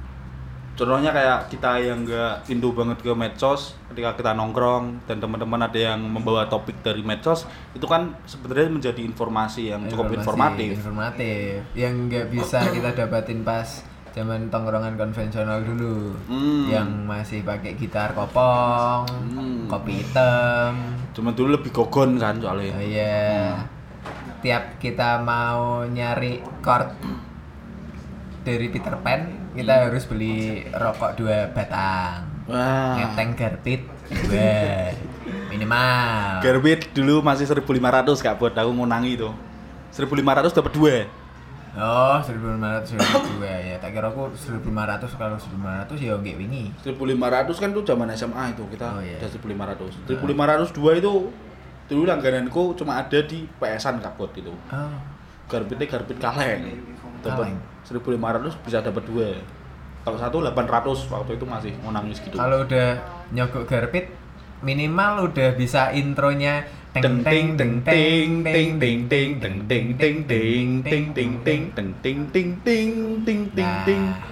Speaker 2: Contohnya kayak kita yang nggak Indo banget ke medsos, ketika kita nongkrong dan teman-teman ada yang membawa topik dari medsos, itu kan sebenarnya menjadi informasi yang cukup
Speaker 1: Informasi,
Speaker 2: informatif.
Speaker 1: informatif yang nggak bisa kita dapatin pas zaman tongkrongan konvensional dulu
Speaker 2: Hmm.
Speaker 1: yang masih pakai gitar kopong
Speaker 2: Hmm.
Speaker 1: kopi hitam
Speaker 2: Cuman dulu lebih gogon kan
Speaker 1: Oh
Speaker 2: soalnya.
Speaker 1: iya. Tiap kita mau nyari chord dari Peter Pan, kita
Speaker 2: Hmm.
Speaker 1: harus beli rokok dua batang.
Speaker 2: Wah.
Speaker 1: Ngeteng garpit dua minimal.
Speaker 2: Gerbit dulu masih 1500 Kak buat aku ngunangi itu. 1500 dapat dua.
Speaker 1: Oh, 1500 dua ya. Tak kira aku 1500 kalau 1500 ya nggak wingi.
Speaker 2: 1500 kan tuh zaman SMA itu kita
Speaker 1: Oh, iya.
Speaker 2: udah 1500. 1500 dua itu dulu langgananku cuma ada di PS-an Kak Bot gitu.
Speaker 1: Oh,
Speaker 2: garbitnya garbit kaleng dapat
Speaker 1: Kaleng.
Speaker 2: 1500 bisa dapat dua kalau satu 800 waktu itu masih mau nangis gitu
Speaker 1: kalau udah nyogok garpit minimal udah bisa intronya
Speaker 2: Deng ting deng ting ting ting ting deng ting ting ting ting ting ting deng ting ting ting ting ting ting
Speaker 1: Nah,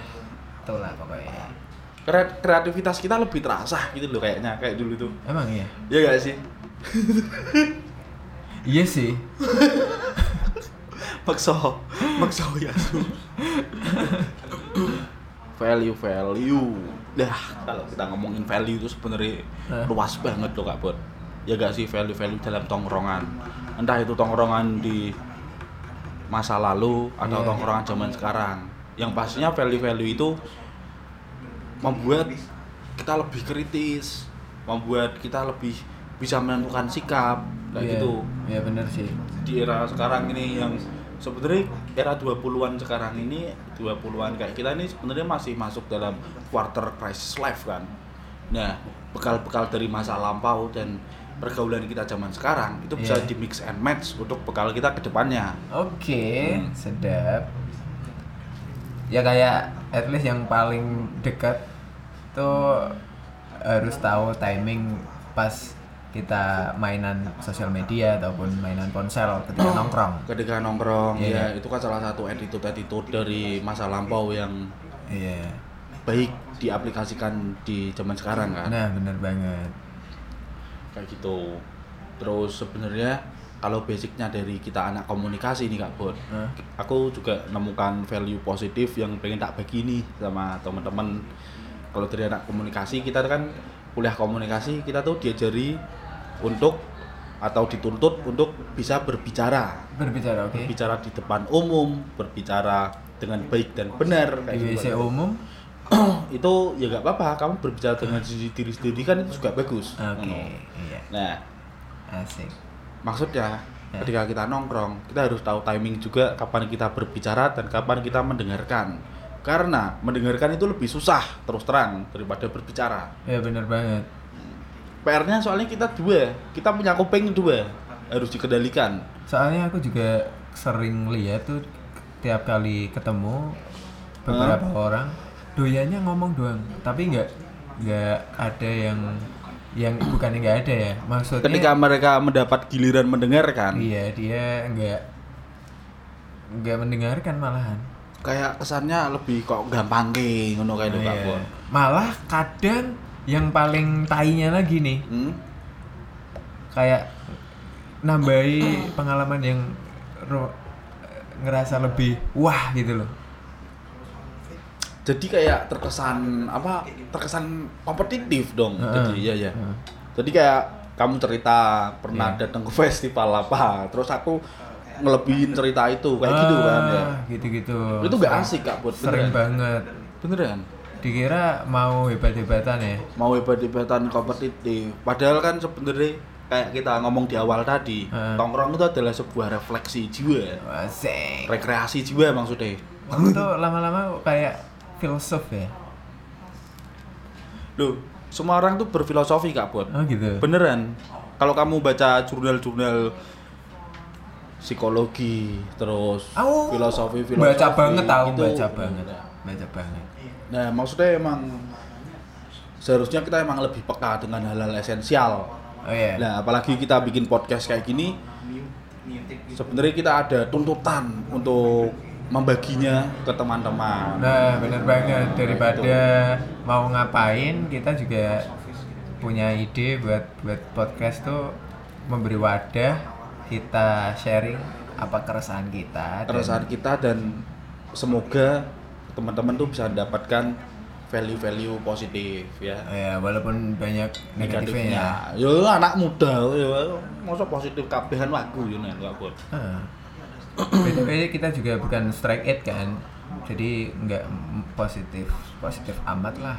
Speaker 1: itulah pokoknya.
Speaker 2: Kre- kreativitas kita lebih
Speaker 1: iya?
Speaker 2: terasa gitu loh kayaknya kayak dulu tuh
Speaker 1: Emang iya?
Speaker 2: ya gak sih
Speaker 1: Iya sih.
Speaker 2: Makso, makso ya. value value. Dah, kalau kita ngomongin value itu sebenarnya
Speaker 1: Eh.
Speaker 2: luas banget loh Kak Bud. Ya gak sih value-value dalam tongkrongan. Entah itu tongkrongan di masa lalu atau
Speaker 1: Iya.
Speaker 2: tongkrongan zaman sekarang. Yang pastinya value-value itu membuat kita lebih kritis, membuat kita lebih bisa menentukan sikap, kayak
Speaker 1: Iya.
Speaker 2: gitu
Speaker 1: Iya bener sih.
Speaker 2: di era sekarang ini yang sebenarnya era 20-an sekarang ini 20-an kayak kita ini sebenarnya masih masuk dalam quarter crisis life kan. Nah, bekal-bekal dari masa lampau dan pergaulan kita zaman sekarang itu bisa
Speaker 1: Iya.
Speaker 2: di mix and match untuk bekal kita ke depannya.
Speaker 1: Oke,
Speaker 2: Hmm.
Speaker 1: sedap. Ya kayak at least yang paling dekat tuh harus tahu timing pas kita mainan sosial media ataupun mainan ponsel ketika
Speaker 2: Hmm.
Speaker 1: nongkrong.
Speaker 2: Ketika nongkrong
Speaker 1: Iya.
Speaker 2: ya itu kan salah satu attitude-attitude dari masa lampau yang
Speaker 1: Iya.
Speaker 2: baik diaplikasikan di zaman sekarang kan.
Speaker 1: Nah, bener banget.
Speaker 2: kayak gitu terus sebenarnya kalau basicnya dari kita anak komunikasi nih kak Bon
Speaker 1: Hah?
Speaker 2: aku juga nemukan value positif yang pengen tak bagi nih sama teman-teman kalau dari anak komunikasi kita kan kuliah komunikasi kita tuh diajari untuk atau dituntut untuk bisa berbicara
Speaker 1: Berbicara, oke.
Speaker 2: bicara di depan umum berbicara dengan baik dan benar kayak
Speaker 1: Di WC
Speaker 2: gitu.
Speaker 1: umum.
Speaker 2: itu ya nggak apa-apa kamu berbicara dengan diri diri sendiri kan itu juga bagus
Speaker 1: Oke,
Speaker 2: Ngono.
Speaker 1: iya.
Speaker 2: nah
Speaker 1: Asik.
Speaker 2: Maksudnya,
Speaker 1: Ya.
Speaker 2: ketika kita nongkrong, kita harus tahu timing juga kapan kita berbicara dan kapan kita mendengarkan. Karena mendengarkan itu lebih susah terus terang daripada berbicara.
Speaker 1: Ya bener banget.
Speaker 2: PR-nya soalnya kita dua, kita punya kuping dua, harus dikendalikan.
Speaker 1: Soalnya aku juga sering lihat tuh tiap kali ketemu beberapa orang doyanya ngomong doang, tapi nggak nggak ada yang yang bukannya nggak ada ya maksudnya
Speaker 2: Ketika mereka mendapat giliran mendengarkan,
Speaker 1: iya dia nggak nggak mendengarkan malahan
Speaker 2: kayak kesannya lebih kok gampang ke, ngono kayak lho, Kak
Speaker 1: Iya.
Speaker 2: Bon.
Speaker 1: malah kadang yang paling tainya lagi nih
Speaker 2: Hmm?
Speaker 1: kayak nambahi pengalaman yang ro- ngerasa lebih wah gitu loh
Speaker 2: Jadi kayak terkesan apa? Terkesan kompetitif dong.
Speaker 1: Heeh.
Speaker 2: Jadi iya ya.
Speaker 1: Heeh. Iya.
Speaker 2: Jadi kayak kamu cerita pernah datang ke festival apa, terus aku ngelebihin cerita itu kayak gitu kan ya.
Speaker 1: gitu gitu
Speaker 2: Itu nggak asik ya? kak buat
Speaker 1: sering
Speaker 2: beneran.
Speaker 1: banget
Speaker 2: Beneran.
Speaker 1: dikira mau hebat hebatan ya
Speaker 2: Mau hebat-hebatan kompetitif. Padahal kan sebenarnya kayak kita ngomong di awal tadi,
Speaker 1: Heeh.
Speaker 2: tongkrong itu adalah sebuah refleksi jiwa,
Speaker 1: asik
Speaker 2: rekreasi jiwa maksudnya.
Speaker 1: kamu tuh lama-lama kayak filsuf ya
Speaker 2: Loh, semua orang tuh berfilosofi kak buat.
Speaker 1: oh gitu
Speaker 2: Beneran. Kalau kamu baca jurnal-jurnal psikologi, terus
Speaker 1: Aku
Speaker 2: filosofi-filosofi
Speaker 1: baca banget tahu
Speaker 2: gitu.
Speaker 1: baca banget baca banget
Speaker 2: Nah, maksudnya emang seharusnya kita emang lebih peka dengan hal-hal esensial.
Speaker 1: oh iya
Speaker 2: Nah, apalagi kita bikin podcast kayak gini, sebenarnya kita ada tuntutan untuk membaginya ke teman-teman.
Speaker 1: Nah, bener banget. Daripada mau ngapain, kita juga punya ide buat buat podcast tuh memberi wadah kita sharing apa keresahan kita. dan-
Speaker 2: Keresahan kita dan semoga teman-teman tuh bisa mendapatkan value-value positif ya.
Speaker 1: Ya, walaupun banyak negatifnya. ya.
Speaker 2: Negatifnya, yo anak muda, yo masa positif kabehan lagu yo nek aku.
Speaker 1: Ah. BTW kita juga bukan strike it kan. Jadi nggak m- positif positif amat lah.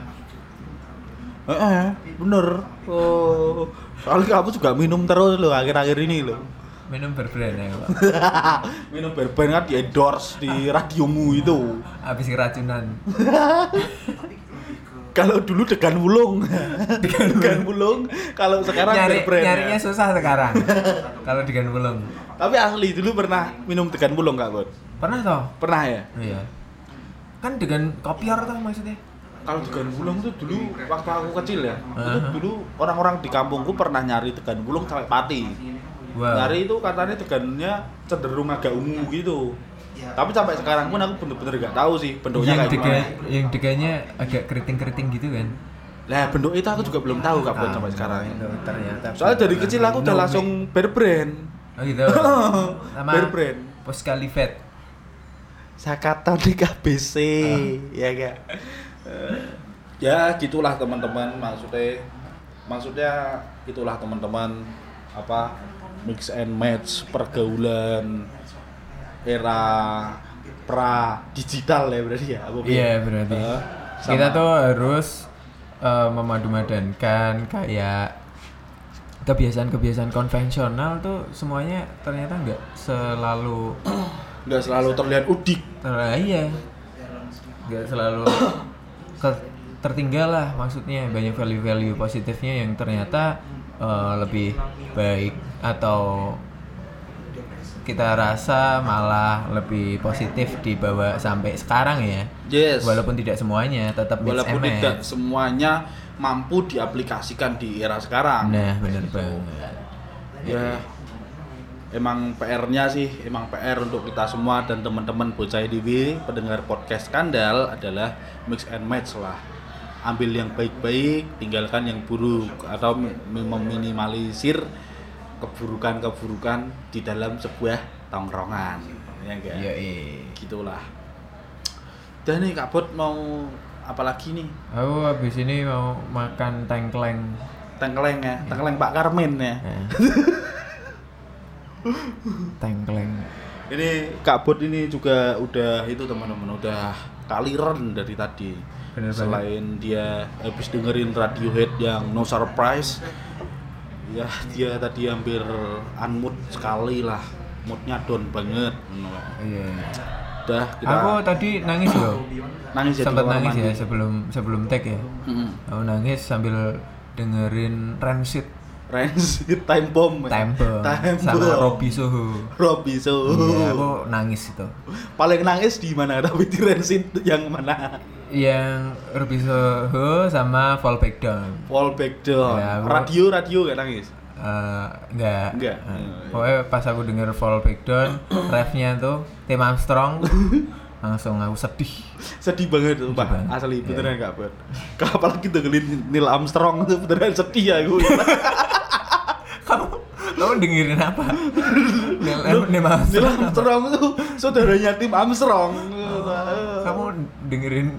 Speaker 2: Eh, eh, bener. Oh, soalnya kamu juga minum terus loh akhir-akhir ini loh.
Speaker 1: Minum berbrand ya, Pak.
Speaker 2: minum berben kan di endorse di radiomu itu.
Speaker 1: Habis keracunan.
Speaker 2: Kalau dulu degan wulung, degan wulung. Kalau sekarang
Speaker 1: Nyari,
Speaker 2: berben. ya.
Speaker 1: nyarinya susah sekarang. Kalau dengan belum.
Speaker 2: Tapi asli dulu pernah minum degan wulung nggak Bon?
Speaker 1: Pernah toh?
Speaker 2: Pernah ya.
Speaker 1: Iya. Kan dengan kopior tuh maksudnya.
Speaker 2: Kalau degan wulung tuh dulu waktu aku kecil ya. Itu
Speaker 1: Aha.
Speaker 2: dulu orang-orang di kampungku pernah nyari degan wulung sampai pati.
Speaker 1: Wow.
Speaker 2: Nyari itu katanya degannya cenderung agak ungu gitu. Tapi sampai sekarang pun aku bener-bener nggak tahu sih bentuknya
Speaker 1: yang
Speaker 2: kayak
Speaker 1: dega,
Speaker 2: gimana.
Speaker 1: yang deganya agak keriting-keriting gitu kan.
Speaker 2: Lah bentuk itu aku juga belum tahu kapan
Speaker 1: Ah, Nah,
Speaker 2: sampai sekarang.
Speaker 1: itu Ternyata.
Speaker 2: Soalnya dari kecil aku udah
Speaker 1: Nomi.
Speaker 2: langsung berbrand.
Speaker 1: Oh gitu. Sama
Speaker 2: Bear brand.
Speaker 1: Poskalivet.
Speaker 2: Sakaton di KBC, ya gak? ya gitulah teman-teman maksudnya maksudnya itulah teman-teman apa mix and match pergaulan era pra digital ya berarti ya apa, Bi?
Speaker 1: Iya berarti.
Speaker 2: Eh, sama-
Speaker 1: Kita tuh harus eh, memadu-madankan kayak kebiasaan-kebiasaan konvensional tuh semuanya ternyata nggak selalu
Speaker 2: nggak selalu terlihat udik
Speaker 1: Nah, iya. Nggak selalu ke- tertinggal lah maksudnya banyak value-value positifnya yang ternyata eh, lebih baik atau kita rasa malah lebih positif dibawa sampai sekarang ya.
Speaker 2: yes
Speaker 1: Walaupun tidak semuanya tetap mix
Speaker 2: walaupun
Speaker 1: and match.
Speaker 2: tidak semuanya mampu diaplikasikan di era sekarang
Speaker 1: Nah, bener banget.
Speaker 2: ya emang PR-nya sih emang PR untuk kita semua dan teman-teman bocah IDW pendengar podcast Kandal adalah mix and match lah ambil yang baik-baik tinggalkan yang buruk atau mi- mi- meminimalisir keburukan-keburukan di dalam sebuah tongkrongan ya enggak
Speaker 1: Iya,
Speaker 2: gitulah dan nih Kak Bot mau apalagi nih
Speaker 1: Aku habis ini mau makan tengkleng.
Speaker 2: tengkeleng ya tengkeleng Pak Karmin ya
Speaker 1: Nah. tengkleng.
Speaker 2: Ini Kak Bot ini juga udah itu teman-teman udah kaliren dari tadi.
Speaker 1: Bener banget.
Speaker 2: Selain dia habis dengerin Radiohead yang No Surprise, ya dia tadi hampir unmood sekali lah, moodnya down banget. ngono lah.
Speaker 1: Iya.
Speaker 2: Udah kita
Speaker 1: Aku tadi nangis loh.
Speaker 2: nangis jadi
Speaker 1: Sempat
Speaker 2: kamar
Speaker 1: nangis
Speaker 2: mandi.
Speaker 1: ya sebelum sebelum tag ya.
Speaker 2: Mm-mm.
Speaker 1: Aku nangis sambil dengerin Rancid
Speaker 2: Rancid time bomb. ya.
Speaker 1: Temple
Speaker 2: Time
Speaker 1: sama
Speaker 2: bomb.
Speaker 1: Robby Soho.
Speaker 2: Robby, so.
Speaker 1: Iya, aku nangis itu.
Speaker 2: Paling nangis di mana? Tapi di Rancid yang mana?
Speaker 1: Yang Robby Soho sama Fall Back Down.
Speaker 2: Fallback down.
Speaker 1: Ya, aku-
Speaker 2: radio radio gak nangis.
Speaker 1: Eh, enggak.
Speaker 2: Enggak. Oh, iya.
Speaker 1: Eh, pokoknya pas aku denger Fall Back Down, refnya tuh Tim Armstrong langsung aku sedih.
Speaker 2: sedih banget tuh pak
Speaker 1: banget.
Speaker 2: asli
Speaker 1: Iya.
Speaker 2: beneran gak buat apalagi dengerin Neil Armstrong tuh beneran sedih ya gue
Speaker 1: Nah, Kamu kamu dengerin apa? Neil- Neil
Speaker 2: Neil
Speaker 1: Armstrong.
Speaker 2: Armstrong tuh saudaranya tim Armstrong
Speaker 1: Kamu dengerin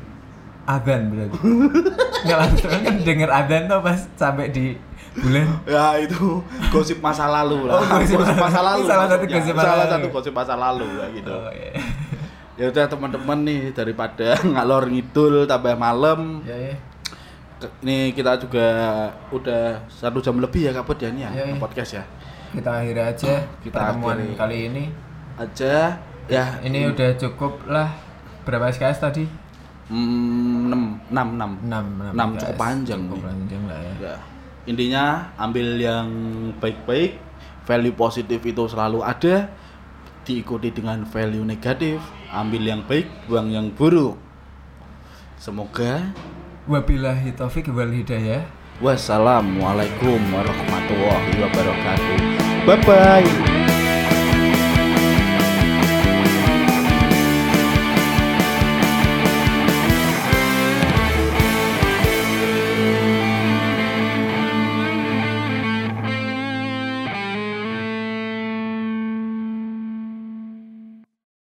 Speaker 1: adzan berarti? Nggak langsung kan denger adzan tuh pas sampai di bulan
Speaker 2: ya itu gosip masa lalu lah
Speaker 1: Oh, gosip masa-
Speaker 2: masa lalu
Speaker 1: salah satu
Speaker 2: maksudnya.
Speaker 1: gosip masa
Speaker 2: salah
Speaker 1: lalu.
Speaker 2: satu gosip masa lalu ya gitu
Speaker 1: Oh, iya.
Speaker 2: ya udah teman-teman nih daripada ngalor ngidul tambah malam
Speaker 1: Ya, ya.
Speaker 2: ke- ini kita juga udah satu jam lebih ya kak Bud, ya ini ya
Speaker 1: Iya, iya.
Speaker 2: podcast ya
Speaker 1: Kita akhir aja
Speaker 2: Kita
Speaker 1: pertemuan
Speaker 2: akhiri.
Speaker 1: kali ini.
Speaker 2: aja ya
Speaker 1: Ini udah cukup lah. Berapa SKS tadi?
Speaker 2: Hmm, 6 6 6.
Speaker 1: 6
Speaker 2: Enam, cukup panjang
Speaker 1: Cukup
Speaker 2: nih.
Speaker 1: panjang lah ya.
Speaker 2: Ya. Intinya ambil yang baik-baik, value positif itu selalu ada, diikuti dengan value negatif, ambil yang baik, buang yang buruk. Semoga
Speaker 1: Wabillahi taufik wal hidayah.
Speaker 2: wassalamualaikum warahmatullahi wabarakatuh. Bye bye.